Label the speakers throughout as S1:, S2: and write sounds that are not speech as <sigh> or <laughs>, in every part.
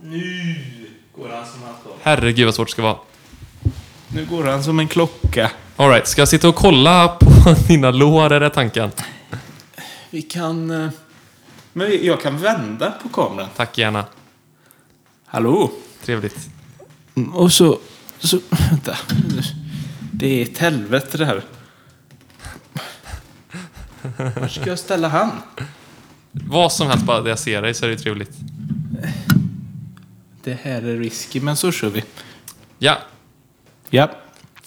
S1: Nu går han som han ska.
S2: Herregud vad svårt det ska vara.
S3: Nu går han som en klocka.
S2: Alright, ska jag sitta och kolla på <laughs> dina lår, är det tanken?
S3: Vi kan... eh, Men jag kan vända på kameran.
S2: Tack gärna.
S3: Hallå?
S2: Trevligt.
S3: Mm, Och så... så vänta. Det är ett helvete det här. Var ska jag ställa han?
S2: Vad som helst, bara jag ser dig så är det ju trevligt.
S3: Det här är risky, men så kör vi.
S2: Ja,
S3: Ja.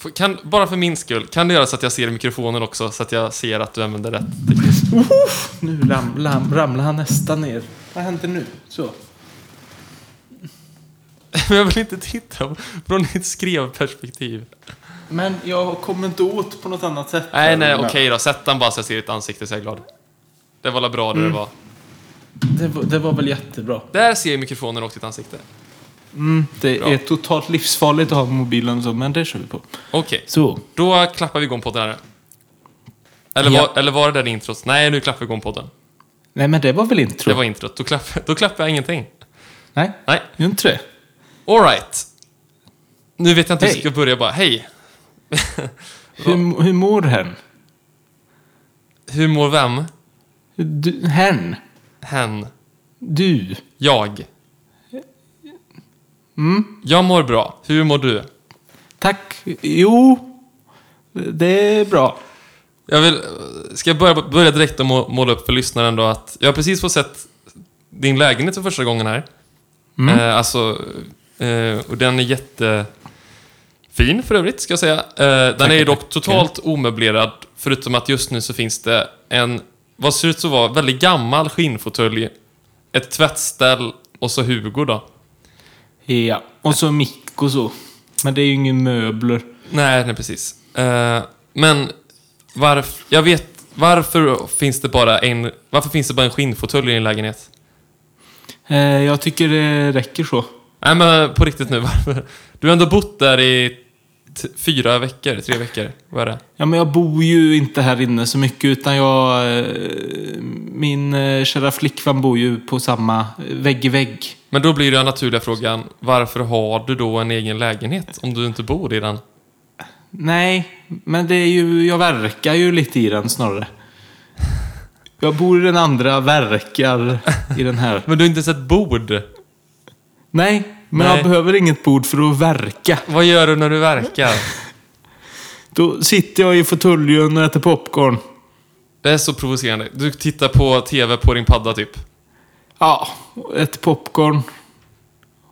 S2: F- kan, bara för min skull, kan du göra så att jag ser i mikrofonen också, så att jag ser att du använder rätt teknik?
S3: Nu ramlar, ramlar han nästan ner. Vad händer nu? Så.
S2: <laughs> Men jag vill inte titta från ditt skrevperspektiv.
S3: Men jag kommer inte åt på något annat sätt.
S2: Nej, nej, okej då. Sätt den bara så jag ser ditt ansikte så jag är glad. Det var la bra det det var.
S3: Det, var- det var väl jättebra.
S2: Där ser jag i mikrofonen och ditt ansikte.
S3: Mm, det
S2: Bra.
S3: är totalt livsfarligt att ha mobilen så, men det kör vi på.
S2: Okej,
S3: Så.
S2: då klappar vi igång podden här. Eller,
S3: Ja.
S2: var, eller var det där introt? Nej, nu klappar vi igång podden.
S3: Nej, men det var väl intro?
S2: Det var introt. Då, klapp, då klappar jag ingenting.
S3: Nej,
S2: Nej,
S3: gör inte det.
S2: alright. Nu vet jag inte hur
S3: Hej.
S2: jag ska börja bara. Hej!
S3: Hur, hur mår hen?
S2: Hur mår vem?
S3: Du, hen?
S2: Hen.
S3: Du?
S2: Jag. Jag mår bra. Hur mår du?
S3: Tack. Jo, det är bra.
S2: Jag vill, ska jag börja, börja direkt och må- måla upp för lyssnaren då att jag har precis fått sett din lägenhet för första gången här. Eh, alltså, eh, och den är jättefin för övrigt, ska jag säga. Eh, den är ju dock totalt omöblerad, förutom att just nu så finns det en, vad ser ut att vara, väldigt gammal skinnfåtölj, ett tvättställ och så Hugo då.
S3: Ja, och så mick och så. Men det är ju inga möbler.
S2: Nej, nej precis. Eh, men varf, jag vet, varför finns det bara en, varför finns det bara en skinnfåtölj i din lägenhet?
S3: Eh, jag tycker det räcker så.
S2: Nej men på riktigt nu, <laughs> varför? Du har ändå bott där i t- fyra veckor, tre veckor. Vad är det?
S3: Ja, men jag bor ju inte här inne så mycket utan jag... Eh, min eh, kära flickvän bor ju på samma eh, vägg i vägg.
S2: Men då blir den naturliga frågan, varför har du då en egen lägenhet om du inte bor i den?
S3: Nej, men det är ju... Jag verkar ju lite i den snarare. Jag bor i den andra, verkar i den här.
S2: Men du har inte sett bord.
S3: Nej, men
S2: Nej.
S3: jag behöver inget bord för att verka.
S2: Vad gör du när du verkar?
S3: Då sitter jag i fåtöljen och äter popcorn.
S2: Det är så provocerande. Du tittar på TV på din padda typ.
S3: Ja, och äter popcorn.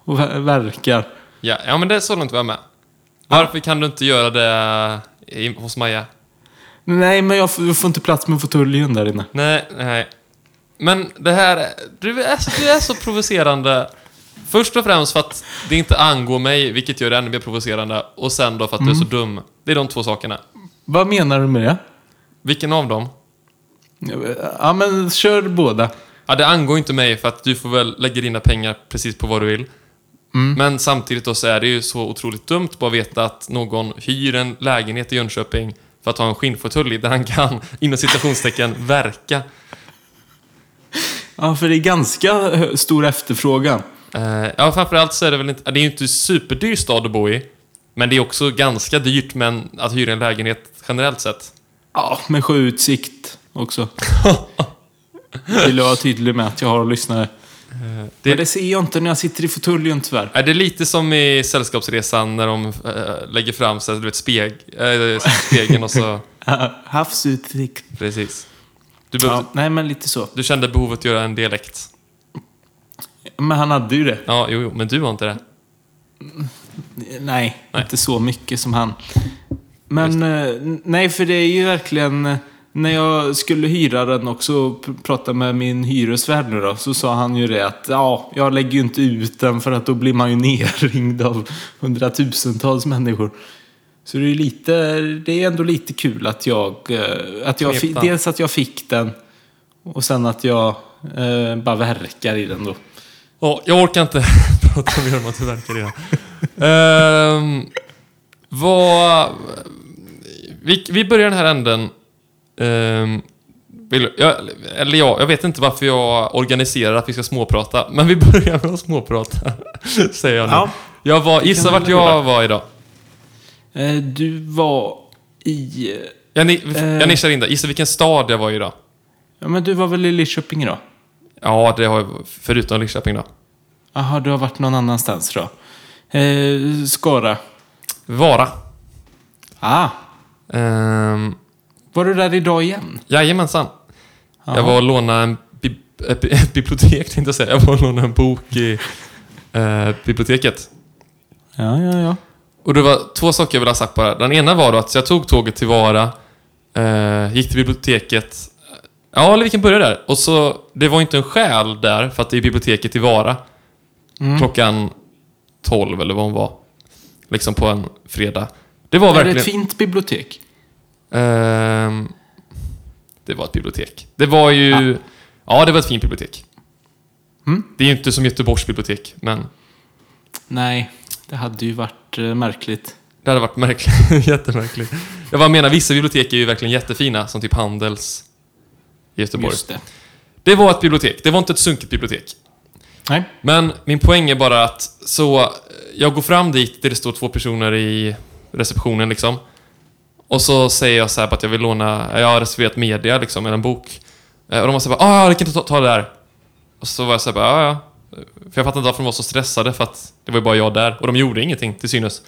S3: Och ver- verkar.
S2: Ja, ja men det är så långt vi är med. Varför kan du inte göra det eh, i, hos Maja?
S3: Nej, men jag får, jag får inte plats med fåtöljen där inne.
S2: Nej, nej. Men det här... Du är, du är så provocerande. Först och främst för att det inte angår mig, vilket gör det ännu mer provocerande. Och sen då för att du är så dum. Det är de två sakerna.
S3: Vad menar du med det?
S2: Vilken av dem?
S3: Ja, men kör båda.
S2: Ja, det angår inte mig för att du får väl lägga dina pengar precis på vad du vill. Men samtidigt då så är det ju så otroligt dumt bara att veta att någon hyr en lägenhet i Jönköping för att ha en skinnfåtölj i där han kan, <laughs> inom citationstecken, verka.
S3: Ja, för det är ganska hö- stor efterfrågan.
S2: Eh, ja, framförallt så är det väl inte... Det är ju inte superdyr stad att bo i. Men det är också ganska dyrt men att hyra en lägenhet generellt sett.
S3: Ja, med sjöutsikt också. Vill jag vara tydlig med att jag har lyssnare.
S2: det-
S3: Det... Men det ser jag inte när jag sitter i fåtöljen
S2: <laughs>
S3: tyvärr.
S2: Är det lite som i Sällskapsresan när de eh, lägger fram sig, du vet, speg, eh, <laughs> spegeln och så...
S3: Havsutsikt.
S2: Precis. Du, behövde,
S3: Ja, nej, men lite så.
S2: du kände behovet att göra en dialekt.
S3: Men han hade ju det.
S2: Ja, jo, jo, men du har inte det.
S3: Nej, inte så mycket som han. Men eh, nej, för det är ju verkligen... eh, När jag skulle hyra den också och pr- prata med min hyresvärd nu då, så sa han ju det att ja, jag lägger ju inte ut den för att då blir man ju <laughs> nerringd av hundratusentals människor. Så det är ju lite, det är ändå lite kul att jag, eh, att jag fick,
S2: Knepigt.
S3: dels att jag fick den och sen att jag eh, bara verkar i den då.
S2: Ja, jag orkar inte <laughs> prata mer om att du verkar redan. Ehm, vad... Vi, vi börjar den här änden. Ehm, vill, jag, eller jag, jag vet inte varför jag organiserar att vi ska småprata, <laughs> men vi börjar med att småprata. Säger jag nu.
S3: Ja.
S2: Jag var, gissa
S3: kan
S2: vart
S3: vi göra.
S2: jag var idag.
S3: Eh, Du var i... eh,
S2: Jag, ni,
S3: Eh.
S2: jag nischar in där. Gissa vilken stad jag var i idag.
S3: Ja, men du var väl i Lidköping då?
S2: Ja, det har jag, förutom Lidköping då.
S3: Jaha, du har varit någon annanstans då? Eh, Skara.
S2: Vara.
S3: Ah,
S2: Ehm,
S3: var du där idag igen?
S2: jajamensan.
S3: Jaha.
S2: Jag var och lånade en bib- ett bi- ett bibliotek, tänkte jag säga. Jag var och lånade en bok i eh, biblioteket.
S3: Ja, ja, ja.
S2: Och det var två saker jag ville ha sagt bara. Den ena var då att jag tog tåget till Vara, eh, gick till biblioteket. Ja, eller vi kan börja där. Och så, det var inte en själ där, för att det är biblioteket i Vara. Klockan 12 eller vad hon var. Liksom på en fredag. Det var
S3: Var det ett
S2: verkligen...
S3: fint bibliotek?
S2: Ehm, det var ett bibliotek. Det var ju... Ja, det var ett fint bibliotek.
S3: Ah. Mm.
S2: Det är ju inte som Göteborgs bibliotek, men
S3: Nej, det hade ju varit eh, märkligt.
S2: det hade varit märkligt. <laughs> Jättemärkligt. Jag bara menar, vissa bibliotek är ju verkligen jättefina, som typ Handels i Göteborg.
S3: Just det.
S2: Det var ett bibliotek. Det var inte ett sunkigt bibliotek.
S3: Nej.
S2: Men min poäng är bara att så eh, jag går fram dit där det står två personer i receptionen liksom. Och så säger jag så här på att jag vill låna, jag har reserverat media liksom, eller en bok. Eh, Och de var så här bara, ah, ja, du kan ta, ta det där. Och så var jag så här bara, "Ja, ja. För jag fattade inte varför de var så stressade för att det var ju bara jag där. Och de gjorde ingenting till synes.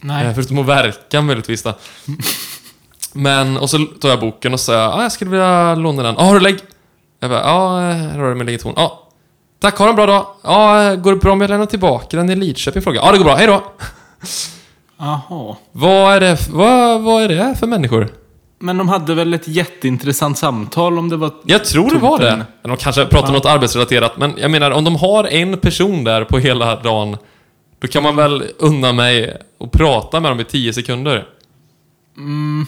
S3: Nej.
S2: Eh, Förutom att verka möjligtvis då. Men, och så tar jag boken och säger ah, jag skulle vilja låna den. Ja, ah, har du lägg? Jag bara, ja, ah, här har du min legition. Ja. Ah. Tack, ha en bra dag. Ja, ah, går det bra om jag lämnar tillbaka den i Lidköping? Fråga. Ja, ah, det går bra. Hej då.
S3: Aha.
S2: Vad är det, f- vad, vad är det för människor?
S3: Men de hade väl ett jätteintressant samtal om det var...
S2: Jag tror det var det.
S3: Tomten.
S2: De kanske pratar om något arbetsrelaterat, men jag menar om de har en person där på hela dagen, då kan man väl unna mig att prata med dem i tio sekunder? typ Kan man
S3: Men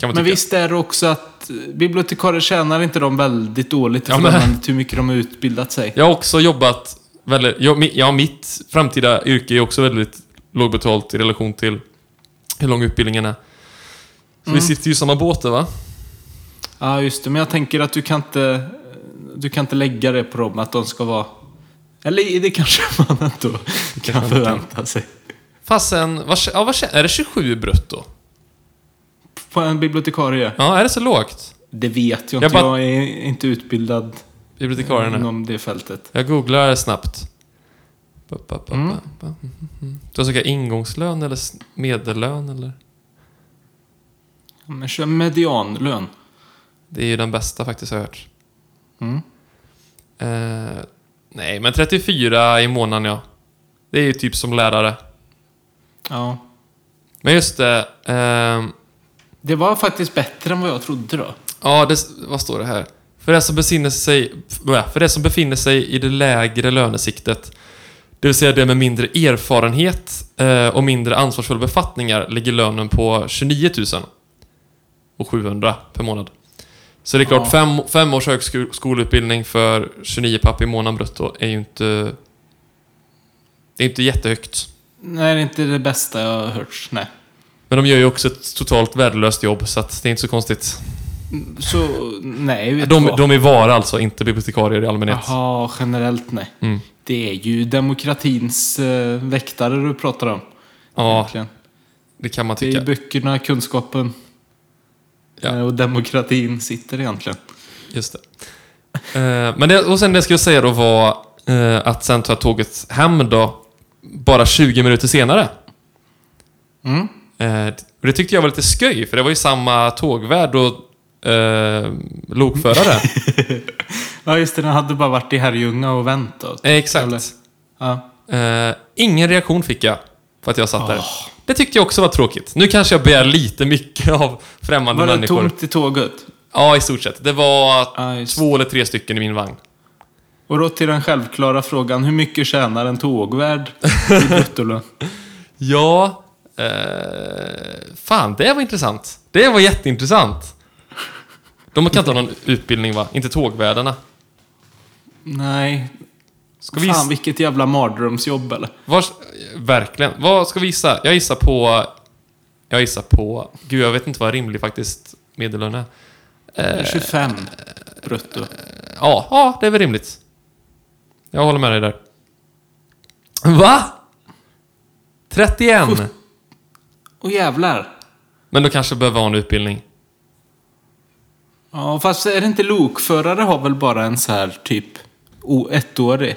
S2: tycka.
S3: mm, visst är det också att eh, bibliotekarier tjänar inte de väldigt dåligt i
S2: Ja, men-
S3: förhållande till hur mycket de har utbildat sig?
S2: Jag har också jobbat väldigt... Jag, mi- ja, mitt framtida yrke är också väldigt lågbetalt i relation till hur lång utbildningen är. Så vi sitter ju i samma båt där, va?
S3: Ja, just det. Men jag tänker att du kan inte, du kan inte lägga det på dem att de ska vara... Eller det kanske <laughs> man ändå kan förvänta sig.
S2: Fasen, vad, ja, vad, är det 27 brutto?
S3: På en bibliotekarie?
S2: Ja, är det så lågt?
S3: Det vet jag
S2: Jag
S3: inte.
S2: bara-
S3: Jag är inte utbildad
S2: Bibliotekarierna.
S3: inom det fältet.
S2: Jag googlar snabbt. Ba, ba, ba, ba, ba. Mm, mm, mm. Du ska ingångslön eller s- medellön eller?
S3: Men kör medianlön.
S2: Det är ju den bästa faktiskt har jag hört.
S3: Mm.
S2: Eh, nej, men 34 i månaden ja. Det är ju typ som lärare.
S3: Ja.
S2: Men just det. ehm,
S3: Det var faktiskt bättre än vad jag trodde då.
S2: ja, det, vad står det här? För det, som besinner sig, för det som befinner sig i det lägre lönesiktet, det vill säga det med mindre erfarenhet eh, och mindre ansvarsfulla befattningar, ligger lönen på 29 000 och 700 per månad. Så det är klart,
S3: Ja.
S2: fem, fem års högskoleutbildning för 29 papp i månaden brutto är ju inte... Det är inte jättehögt.
S3: Nej, det är inte det bästa jag har hört. Nej.
S2: Men de gör ju också ett totalt värdelöst jobb, så att det är inte så konstigt.
S3: Så, nej. Vet du
S2: De,
S3: vad?
S2: de är vara alltså, inte bibliotekarier i allmänhet.
S3: Jaha, generellt nej.
S2: Mm.
S3: Det är ju demokratins eh, väktare du pratar om.
S2: Ja,
S3: Egentligen.
S2: det kan man
S3: Det är
S2: tycka.
S3: ju böckerna, kunskapen
S2: Ja.
S3: eh, och demokratin sitter egentligen.
S2: Just det. Eh, Men det, och sen det jag skulle säga då var eh, att sen ta tåget hem då, bara 20 minuter senare.
S3: Mm.
S2: Eh, Och det tyckte jag var lite sköj, för det var ju samma tågvärd och eh, lokförare.
S3: <laughs> Ja, just det. Den hade bara varit i Herrljunga och vänt då.
S2: Eh, Exakt.
S3: Eller? Ja.
S2: Eh, ingen reaktion fick jag för att jag satt där.
S3: Ah.
S2: Det tyckte jag också var tråkigt. Nu kanske jag begär lite mycket <laughs> av främmande
S3: Var det
S2: människor.
S3: tomt i tåget?
S2: Ja, i stort sett. Det var
S3: Ja, just
S2: två eller tre stycken i min vagn.
S3: Och då till den självklara frågan. Hur mycket tjänar en
S2: <laughs>
S3: tågvärd i bruttolön?
S2: Ja, eh, fan det var intressant. Det var jätteintressant. De kan inte ha någon utbildning va? Inte tågvärdarna.
S3: Nej.
S2: Ska vi
S3: Fan,
S2: gissa?
S3: vilket jävla mardrömsjobb eller?
S2: Vars, verkligen. Vad ska vi gissa? Jag gissar på... Jag gissar på... Gud, jag vet inte vad rimlig faktiskt medellön är. Eh,
S3: 25 brutto.
S2: Ja, ja, det är väl rimligt. Jag håller med dig där. Va? 31?
S3: Och jävlar.
S2: Men då kanske behöver ha en utbildning.
S3: Ja, fast är det inte lokförare har väl bara en så här typ o- ettårig?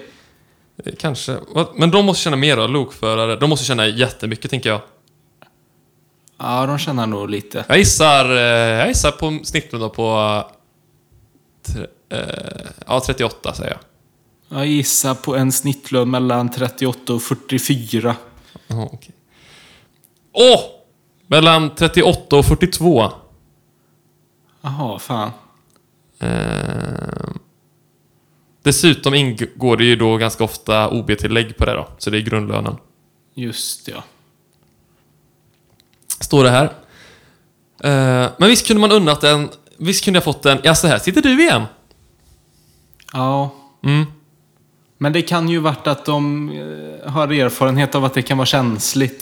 S2: Eh, Kanske. Va? Men de måste känna mer då, lokförare. De måste känna jättemycket, tänker jag.
S3: Ja, de känner nog lite.
S2: Jag gissar, eh, jag gissar på snittet då på... eh, Tre, eh, ja, 38 säger jag.
S3: Jag gissar på en snittlön mellan 38 och 44.
S2: Jaha, okej. Åh! Mellan 38 och 42.
S3: Jaha, fan.
S2: Ehm. Dessutom ingår det ju då ganska ofta OB-tillägg på det då, så det är grundlönen.
S3: Just ja.
S2: Står det här. Ehm, men visst kunde man unnat en... Visst kunde jag fått en... Ja, så här sitter du igen.
S3: Ja.
S2: Mm.
S3: Men det kan ju varit att de eh, har erfarenhet av att det kan vara känsligt.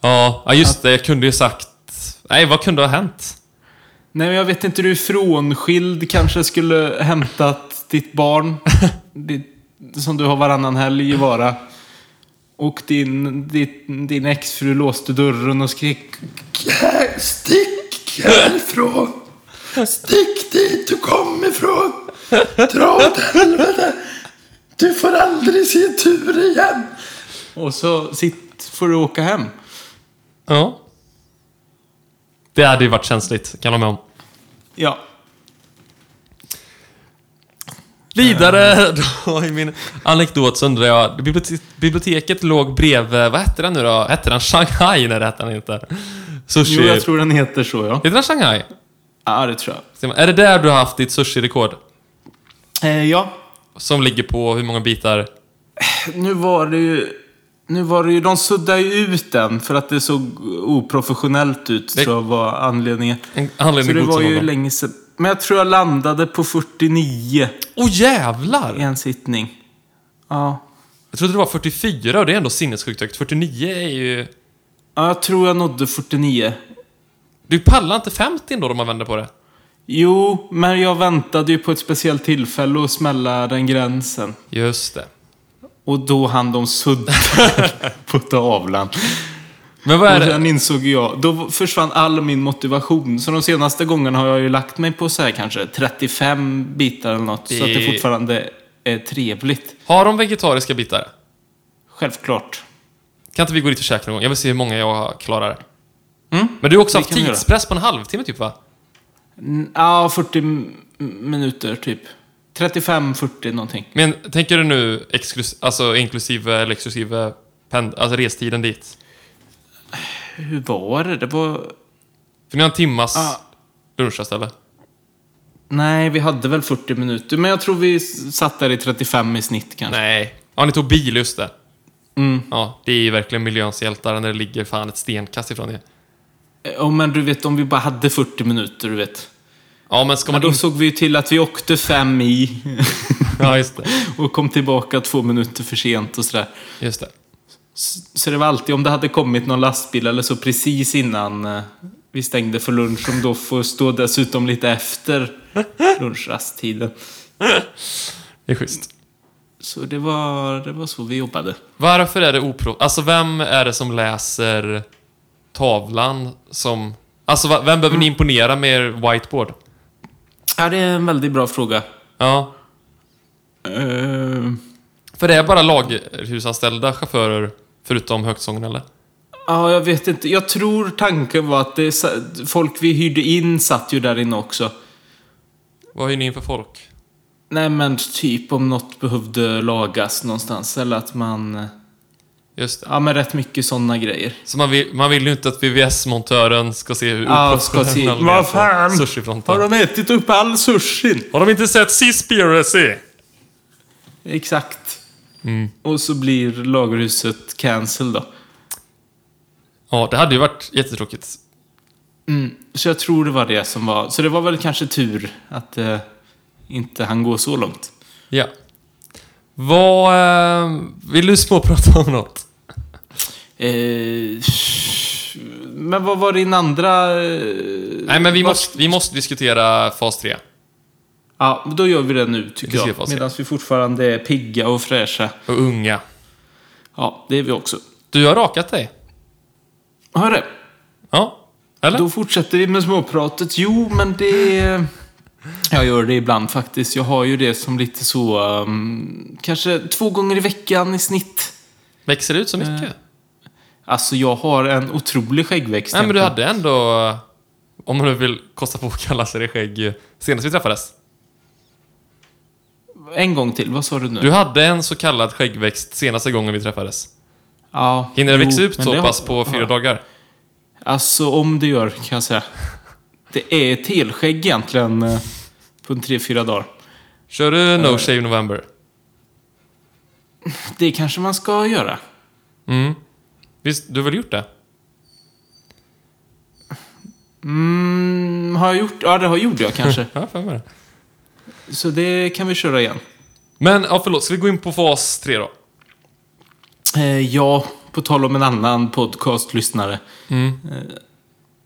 S2: Ja, ja, just det. Jag kunde ju sagt... Nej, vad kunde ha hänt?
S3: Nej, men jag vet inte. Du är frånskild. Kanske skulle hämtat ditt <laughs> barn. ditt, som du har varannan helg i vara. Och din, din, din exfru låste dörren och skrek
S4: Stick härifrån! Stick dit du kom ifrån! Dra åt helvete! Du får aldrig se tur igen!
S3: och så sitt, får du åka hem.
S2: Ja. Det hade ju varit känsligt, kan jag hålla med om.
S3: Ja. Eh.
S2: Vidare <laughs> då i min anekdot så undrar jag, bibliot- biblioteket låg bredvid, vad hette den nu då? Hette den Shanghai? Nej, det hette den inte. Sushi.
S3: Jo, jag tror den heter så, ja.
S2: Heter den Shanghai?
S3: Ja, det tror jag.
S2: Är det där du har haft ditt sushi-rekord?
S3: Eh, ja,
S2: Som ligger på hur många bitar?
S3: nu var det ju... Nu var det ju, de suddade ju ut den för att det såg oprofessionellt ut,
S2: Det-
S3: tror jag var anledningen.
S2: En
S3: Så
S2: anledning
S3: det
S2: god
S3: var
S2: som
S3: ju
S2: någon.
S3: länge sedan. Men jag tror jag landade på 49
S2: Åh jävlar!
S3: i en sittning. Ja.
S2: Jag trodde det var 44 och det är ändå sinnessjukt högt. 49 är ju...
S3: ja, jag tror jag nådde 49.
S2: Du pallar inte 50 då om man vänder på det?
S3: Jo, men jag väntade ju på ett speciellt tillfälle att smälla den gränsen.
S2: Just det.
S3: Och då hann de sudda <laughs> på tavlan.
S2: Men vad är
S3: Och
S2: det?
S3: sen insåg jag, då försvann all min motivation. Så de senaste gångerna har jag ju lagt mig på så här kanske 35 bitar eller något. Så att
S2: Det-
S3: det fortfarande är trevligt.
S2: Har de vegetariska bitar?
S3: Självklart.
S2: Kan inte vi gå dit och käka någon gång? Jag vill se hur många jag klarar.
S3: Mm.
S2: Men du har
S3: Det
S2: också haft
S3: kan vi göra.
S2: tidspress på en halvtimme typ va?
S3: Mm, Ja, 40 m- minuter typ. 35-40 någonting.
S2: Men tänker du nu exklus- alltså, inklusive eller exklusive pend- alltså restiden dit?
S3: Hur var det? Det var...
S2: För ni har en timmas
S3: Ah.
S2: lunchrast eller?
S3: Nej, vi hade väl 40 minuter. Men jag tror vi s- satt där i 35 i snitt kanske.
S2: Nej. Ja, ni tog bil just det.
S3: Mm.
S2: Ja, det är ju verkligen miljöns hjältar när det ligger fan ett stenkast ifrån er.
S3: Ja, men du vet om vi bara hade 40 minuter, du vet.
S2: Ja, men ska
S3: Men
S2: man...
S3: då
S2: in-
S3: såg vi ju till att vi åkte fem i.
S2: <laughs> Ja, just det.
S3: Och kom tillbaka två minuter för sent och sådär.
S2: Just det.
S3: S- Så det var alltid om det hade kommit någon lastbil eller så precis innan eh, vi stängde för lunch som då får stå dessutom lite efter lunchrasttiden.
S2: Det är schysst.
S3: Så det var, det var så vi jobbade.
S2: Varför är det oproff... Alltså, vem är det som läser tavlan som... Alltså, va- vem
S3: Mm.
S2: behöver ni imponera med er whiteboard?
S3: Ja, det är en väldigt bra fråga.
S2: Ja.
S3: Eh,
S2: För det är bara laghusanställda chaufförer, förutom högsäsongen eller?
S3: Ja, jag vet inte. Jag tror tanken var att det, sa- folk vi hyrde in satt ju där inne också.
S2: Vad hyr ni in för folk?
S3: Nej, men typ om något behövde lagas någonstans eller att man... eh,
S2: Just det.
S3: Ja, men rätt mycket sådana grejer.
S2: Så man vill, man vill ju inte att VVS-montören ska se hur
S3: Ja,
S2: oprofessionell
S3: ska se-
S2: den är
S3: Vad
S2: på
S3: fan?
S2: Sushifronten.
S3: Har de ätit upp all sushin?
S2: Har de inte sett Seaspiracy?
S3: Exakt.
S2: Mm.
S3: Och så blir lagerhuset cancel då.
S2: Ja, det hade ju varit jättetråkigt.
S3: Så jag tror det var det som var... Så det var väl kanske tur att det inte han gå så långt.
S2: Ja. Vad... Eh, vill du småprata om något?
S3: Eh, men vad var din andra... eh,
S2: Nej, men vi
S3: vad-
S2: måste, vi måste diskutera fas 3.
S3: Ja, men då gör vi det nu
S2: Vi
S3: tycker
S2: ska
S3: jag.
S2: fasa.
S3: Medan vi fortfarande är pigga och fräscha.
S2: Och unga.
S3: Ja, det är vi också.
S2: Du har rakat dig.
S3: Hörru,
S2: Ja. Eller?
S3: då fortsätter vi med småpratet. Jo, men det... Jag gör det ibland faktiskt. Jag har ju det som lite så... ehm, kanske två gånger i veckan i snitt.
S2: Växer det ut så mycket?
S3: Alltså, jag har en otrolig skäggväxt.
S2: Nej, men du
S3: egentligen.
S2: hade ändå... Om man nu vill kosta på att kalla sig det skägg senast vi träffades.
S3: En gång till, vad sa du nu?
S2: Du hade en så kallad skäggväxt senaste gången vi träffades.
S3: Ja,
S2: Hinner det
S3: jo,
S2: växa ut
S3: men
S2: så
S3: det har-
S2: pass på fyra
S3: ja.
S2: dagar?
S3: Alltså om det gör kan jag säga. Det är ett helskägg egentligen eh, på en tre, fyra dagar.
S2: Kör du No Shave November?
S3: Det kanske man ska göra.
S2: Mm. Visst, du har väl gjort det?
S3: Mm, har jag gjort? Ja, det har gjorde jag
S2: <laughs>
S3: kanske.
S2: Ja, för mig det.
S3: Så det kan vi köra igen.
S2: Men, ja förlåt, ska vi gå in på fas tre då?
S3: Eh, ja, på tal om en annan podcastlyssnare.
S2: Mm.
S3: Eh,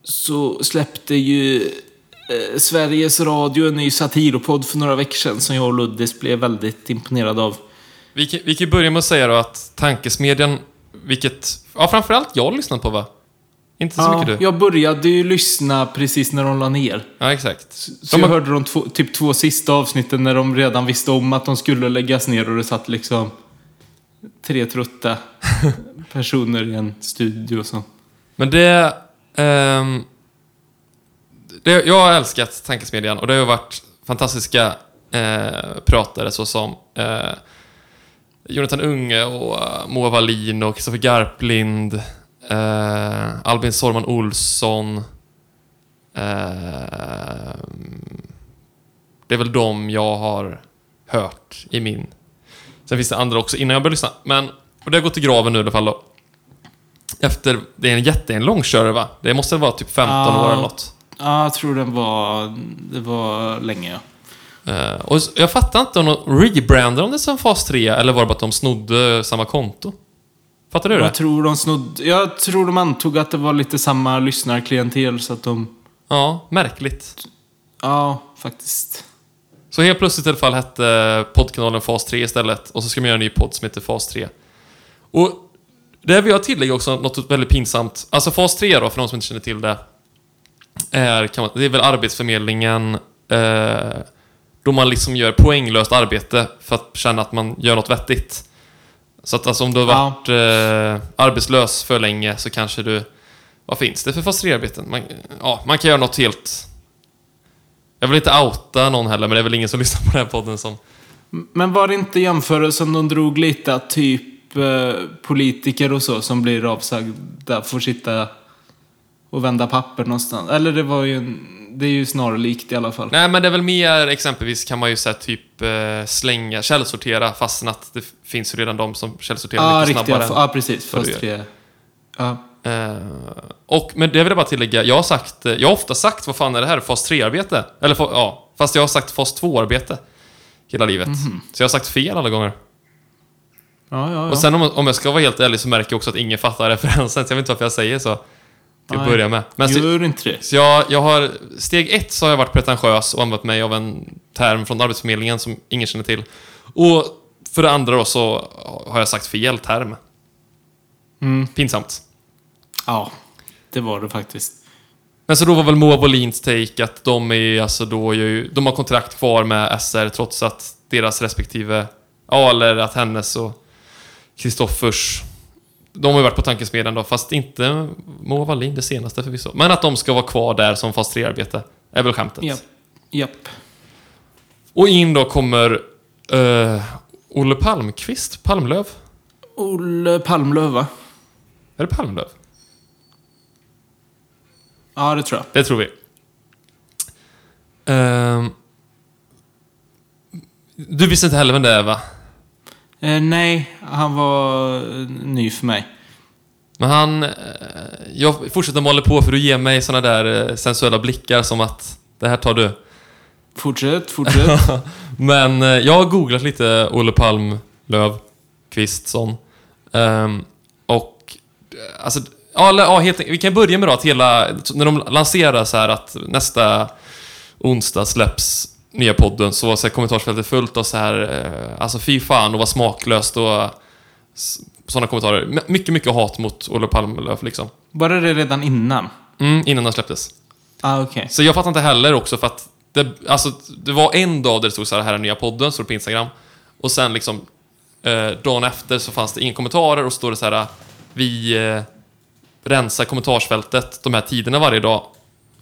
S3: så släppte ju eh, Sveriges Radio en ny satiropodd för några veckor sedan som jag och Luddis blev väldigt imponerade av.
S2: Vi kan, vi kan ju börja med att säga då att tankesmedjan, vilket... Ja, framförallt jag har lyssnat på va? Inte så mycket du?
S3: jag började ju lyssna precis när de la ner.
S2: Ja, exakt.
S3: Så
S2: De
S3: jag
S2: har-
S3: hörde de två, typ två sista avsnitten när de redan visste om att de skulle läggas ner och det satt liksom tre
S2: <laughs>
S3: trötta personer i en studio som...
S2: Men det... ehm, det jag har älskat tankesmedjan och det har ju varit fantastiska eh, pratare såsom eh, Jonathan Unge och eh, Moa Wallin och Kristoffer Garplind. Eh, Albin Sorman Olsson. Ehm, det är väl de jag har hört i min... Sen finns det andra också innan jag började lyssna. Men, och det har gått i graven nu i alla fall då. Efter, det är en jätte, en lång körva. Det måste vara typ 15
S3: Ja.
S2: år eller något.
S3: Ja, jag tror den var... Det var länge, ja.
S2: Eh, och s- jag fattar inte om de rebrandade om det som fas 3 eller var det bara att de snodde samma konto? Fattar du det?
S3: Jag tror de snod, Jag tror de antog att det var lite samma lyssnarklientel så att de...
S2: Ja, märkligt.
S3: Ja, faktiskt.
S2: Så helt plötsligt i alla fall hette poddkanalen Fas 3 istället och så ska man göra en ny podd som heter Fas 3. Och där vill jag tillägga också något väldigt pinsamt. Alltså Fas 3 då, för de som inte känner till det, är, kan man, det är väl Arbetsförmedlingen eh, då man liksom gör poänglöst arbete för att känna att man gör något vettigt. Så att alltså om du har
S3: Ja.
S2: varit eh, arbetslös för länge så kanske du... Vad finns det för fas 3-arbeten? Man, ja, man kan göra något helt... Jag vill inte outa någon heller, men det är väl ingen som <laughs> lyssnar på den här podden som...
S3: Men var det inte jämförelsen de drog lite att typ eh, politiker och så som blir avsagda får sitta och vända papper någonstans? Eller det var ju en, Det är ju snarlikt i alla fall.
S2: Nej, men det är väl mer exempelvis kan man ju säga typ eh, slänga, källsortera fastän att det finns ju redan de som källsorterar
S3: Ja, ah,
S2: mycket
S3: riktiga.
S2: snabbare.
S3: Ja, ah, precis.
S2: vad du
S3: Fast tre. Ja.
S2: Eh, och, men det vill jag bara tillägga, jag har sagt, eh, jag har ofta sagt vad fan är det här, fas 3-arbete? Eller fa- ja, fast jag har sagt fas 2-arbete hela livet. Så jag har sagt fel alla gånger.
S3: Ja, Mhm. ja, ja.
S2: Och sen om, om jag ska vara helt ärlig så märker jag också att ingen fattar referensen, så jag vet inte varför jag säger så. Till att
S3: Nej.
S2: börja med. Men så,
S3: Gör inte det.
S2: så jag, jag har, steg ett så har jag varit pretentiös och använt mig av en term från Arbetsförmedlingen som ingen känner till. Och för det andra då så har jag sagt fel term.
S3: Mm.
S2: Pinsamt.
S3: Ja, det var det faktiskt.
S2: Men så då var väl Moa Wåhlins take att de är alltså då ju, de har kontrakt kvar med SR trots att deras respektive, ja eller att hennes och Kristoffers, de har ju varit på tankesmedjan då, fast inte Moa Wallin det senaste förvisso. Men att de ska vara kvar där som fast 3-arbete, är väl skämtet.
S3: Japp. Japp.
S2: Och in då kommer eh, Olle Palmqvist, Palmlöv?
S3: Olle Palmlöv, va?
S2: Är det Palmlöv?
S3: Ja, det tror jag.
S2: Det tror vi. Ehm, du visste inte heller vem det är va?
S3: Eh, nej, han var eh, ny för mig.
S2: Men han... eh, Jag fortsätter måla på för du ger mig såna där eh, sensuella blickar som att det här tar du.
S3: Fortsätt, <laughs> fortsätt.
S2: Men eh, jag har googlat lite Olle Palm, Löv, Kvistsson. Ehm, och... eh, Alltså, ja, eller, ja, helt, enkelt- vi kan börja med då att hela... När de lanserar så här att nästa onsdag släpps nya podden så var så här, kommentarsfältet fullt av så här, eh, alltså fy fan och vad smaklöst och eh, s- sådana kommentarer. My- Mycket, mycket hat mot Olof Palmelöf liksom.
S3: Bara det redan innan?
S2: Mm, innan den släpptes.
S3: Ah, okej.
S2: Så jag fattar inte heller också för att det, alltså, det var en dag där det stod så här, här är nya podden, stod det på Instagram. Och sen liksom eh, dagen efter så fanns det inga kommentarer och så står det så här, vi eh, rensar kommentarsfältet de här tiderna varje dag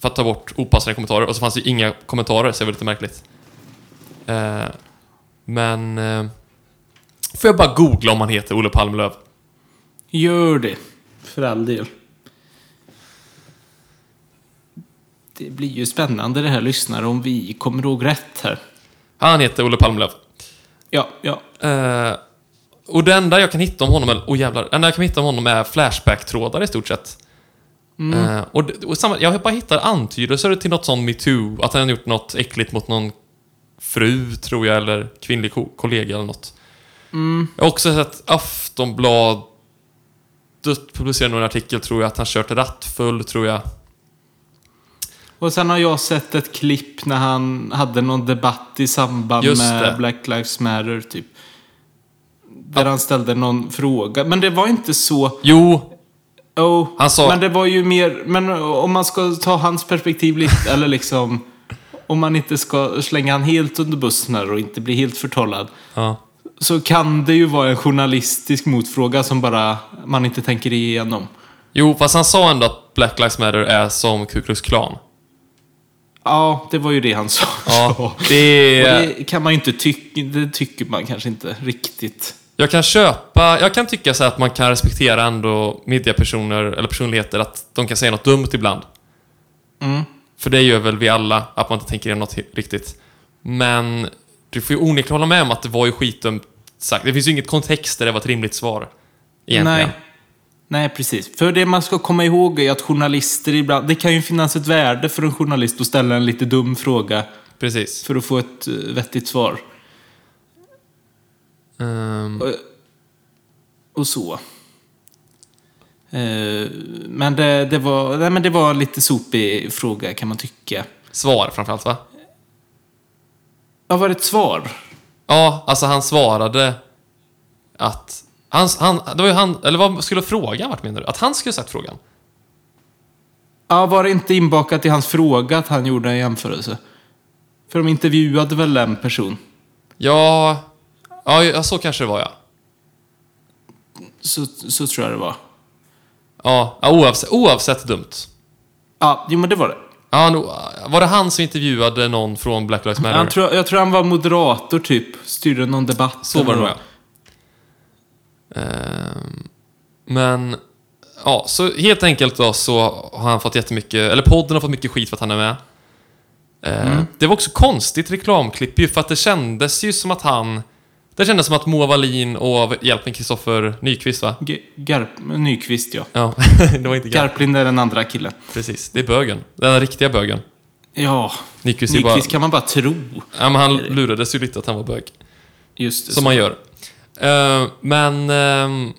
S2: för att ta bort opassande kommentarer. Och så fanns det ju inga kommentarer, så det var lite märkligt. Eh, men... Eh, får jag bara googla om han heter Olle Palmlöv?
S3: Gör det. För all del. Det blir ju spännande det här lyssnare om vi kommer ihåg rätt här.
S2: Han heter Olle Palmlöv.
S3: Ja, ja.
S2: Eh, och det enda jag kan hitta om honom, oh jävlar, det enda jag kan hitta om honom är Flashback-trådar i stort sett. Eh, och, det- och samma, jag bara hittar antydelser till något sånt metoo, att han har gjort något äckligt mot någon fru, tror jag, eller kvinnlig ko- kollega eller något. Jag har också sett Aftonbladet publicera någon artikel, tror jag, att han kört rattfull, tror jag.
S3: Och sen har jag sett ett klipp när han hade någon debatt i samband
S2: Just
S3: med
S2: det.
S3: Black Lives Matter, typ. Där han ställde någon fråga. Men det var inte så...
S2: Jo,
S3: Oh,
S2: Han sa-
S3: Men det var ju mer... Men eh, om man ska ta hans perspektiv lite, <laughs> eller liksom... Om man inte ska slänga han helt under bussen här och inte bli helt förtrollad.
S2: ja.
S3: Så kan det ju vara en journalistisk motfråga som bara man inte tänker igenom.
S2: jo, fast han sa ändå att Black Lives Matter är som Ku Klux Klan.
S3: Ja, det var ju det han sa.
S2: Ja, det
S3: <laughs> Och
S2: är...
S3: det kan man ju inte tycka, det tycker man kanske inte riktigt.
S2: Jag kan köpa, jag kan tycka så här att man kan respektera ändå mediapersoner eller personligheter att de kan säga något dumt ibland.
S3: Mm.
S2: För det gör väl vi alla, att man inte tänker igenom något he- riktigt. Men du får ju onekligen hålla med om att det var ju skitdumt sagt. Det finns ju inget kontext där det var ett rimligt svar. Egentligen.
S3: Nej. Nej, precis. För det man ska komma ihåg är att journalister ibland, det kan ju finnas ett värde för en journalist att ställa en lite dum fråga
S2: Precis.
S3: för att få ett eh, vettigt svar.
S2: Ehm,
S3: Och, och så. Eh, men, det, det var, nej, men det var en lite sopig fråga kan man tycka.
S2: svar framförallt va?
S3: Ja, var det ett svar?
S2: Ja, alltså han svarade att... Han, han, det var ju han, eller vad skulle frågan varit menar du? Att han skulle sagt frågan?
S3: Ja, var det inte inbakat i hans fråga att han gjorde en jämförelse? För de intervjuade väl en person?
S2: Ja, ja, ja så kanske det var ja.
S3: Så, så tror jag det var.
S2: Ja, ja, oavsett, oavsett dumt.
S3: Ja, jo men det var det.
S2: Ja, nu- var det han som intervjuade någon från Black Lives Matter?
S3: Jag tror, jag tror han var moderator typ. Styrde någon debatt.
S2: Så var det
S3: eller
S2: nog,
S3: vad.
S2: ja. Ehm, Men, ja, så helt enkelt då så har han fått jättemycket, eller podden har fått mycket skit för att han är med. Ehm,
S3: Mm.
S2: Det var också konstigt reklamklipp ju, för att det kändes ju som att han... Det kändes som att Moa Wallin och, hjälp mig, Kristoffer Nyqvist va?
S3: G- Garp, Nyqvist ja.
S2: Ja, <laughs> det var inte Garp.
S3: Garplind är den andra killen.
S2: Precis, det är bögen. Den riktiga bögen.
S3: Ja,
S2: Nyqvist är bara...
S3: Nyqvist kan man bara tro.
S2: Ja, men han lurades ju lite att han var bög.
S3: Just det.
S2: Som man gör. Eh, men ehm,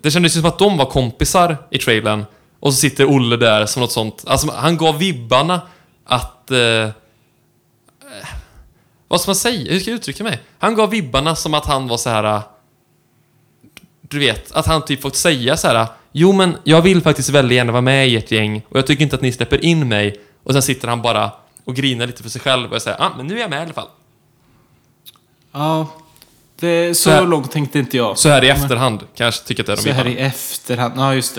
S2: det kändes ju som att de var kompisar i trailern. Och så sitter Olle där som något sånt. Alltså, han gav vibbarna att... eh, eh, vad ska man säga? Hur ska jag uttrycka mig? Han gav vibbarna som att han var så här... eh, Du vet, att han typ fått säga så här. Jo, men jag vill faktiskt väldigt gärna vara med i ert gäng och jag tycker inte att ni släpper in mig. Och sen sitter han bara och grinar lite för sig själv och säger ah, men nu är jag med i alla fall.
S3: Ja. Det, så
S2: Så här-
S3: långt tänkte inte jag.
S2: Så här i efterhand kanske tycker jag att
S3: Så
S2: det är
S3: här
S2: de
S3: i efterhand. Ja, just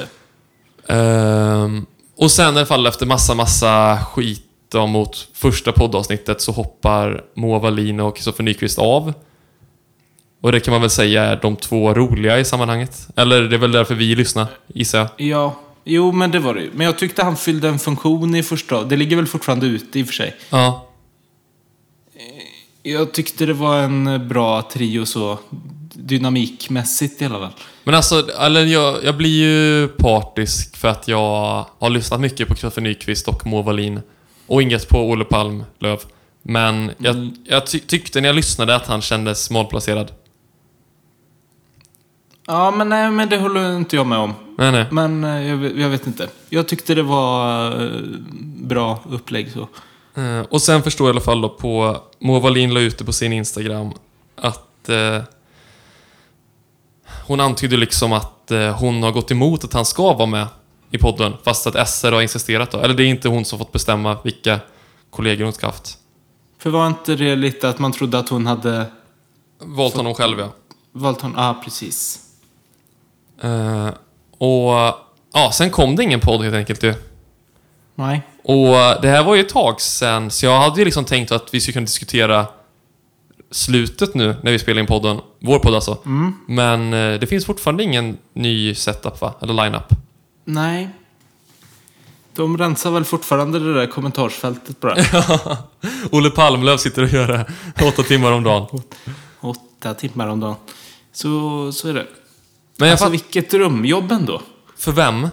S3: det.
S2: Ehm, och sen i alla fall efter massa, massa skit då mot första poddavsnittet så hoppar Moa Wallin och Kristoffer Nyqvist av. Och det kan man väl säga är de två roliga i sammanhanget. Eller det är väl därför vi lyssnar, gissar jag.
S3: Ja. Jo, men det var det ju. Men jag tyckte han fyllde en funktion i första... Det ligger väl fortfarande ute i och för sig.
S2: Ja.
S3: Jag tyckte det var en bra trio så. Dynamikmässigt i alla fall.
S2: Men alltså, eller jag, jag blir ju partisk för att jag har lyssnat mycket på Kristoffer Nyqvist och Moa Wallin. Och inget på Olle Palmlöv. Men jag,
S3: Mm.
S2: jag ty- tyckte när jag lyssnade att han kändes malplacerad.
S3: Ja, men nej, men det håller inte jag med om.
S2: Nej, nej.
S3: Men eh, jag, vet- jag vet inte. Jag tyckte det var eh, bra upplägg så.
S2: Eh, och sen förstår jag i alla fall då på... Moa Wallin la ut det på sin Instagram att... Eh, hon antydde liksom att eh, hon har gått emot att han ska vara med i podden. Fast att SR har insisterat då. Eller det är inte hon som fått bestämma vilka kollegor hon ska haft.
S3: För var inte det lite att man trodde att hon hade
S2: Valt honom själv ja.
S3: valt honom? Ja, ah, precis.
S2: Eh, och... Ja, sen kom det ingen podd helt enkelt ju.
S3: Nej.
S2: Och eh, det här var ju ett tag sen, så jag hade ju liksom tänkt att vi skulle kunna diskutera slutet nu när vi spelar in podden. Vår podd alltså. Men eh, det finns fortfarande ingen ny setup va? Eller lineup.
S3: Nej. De rensar väl fortfarande det där kommentarsfältet bara.
S2: Olle Palmlöf sitter och gör det här åtta timmar om dagen.
S3: Åtta timmar om dagen. Så, så är det.
S2: Men jag
S3: alltså
S2: fatt,
S3: vilket drömjobb ändå.
S2: för vem?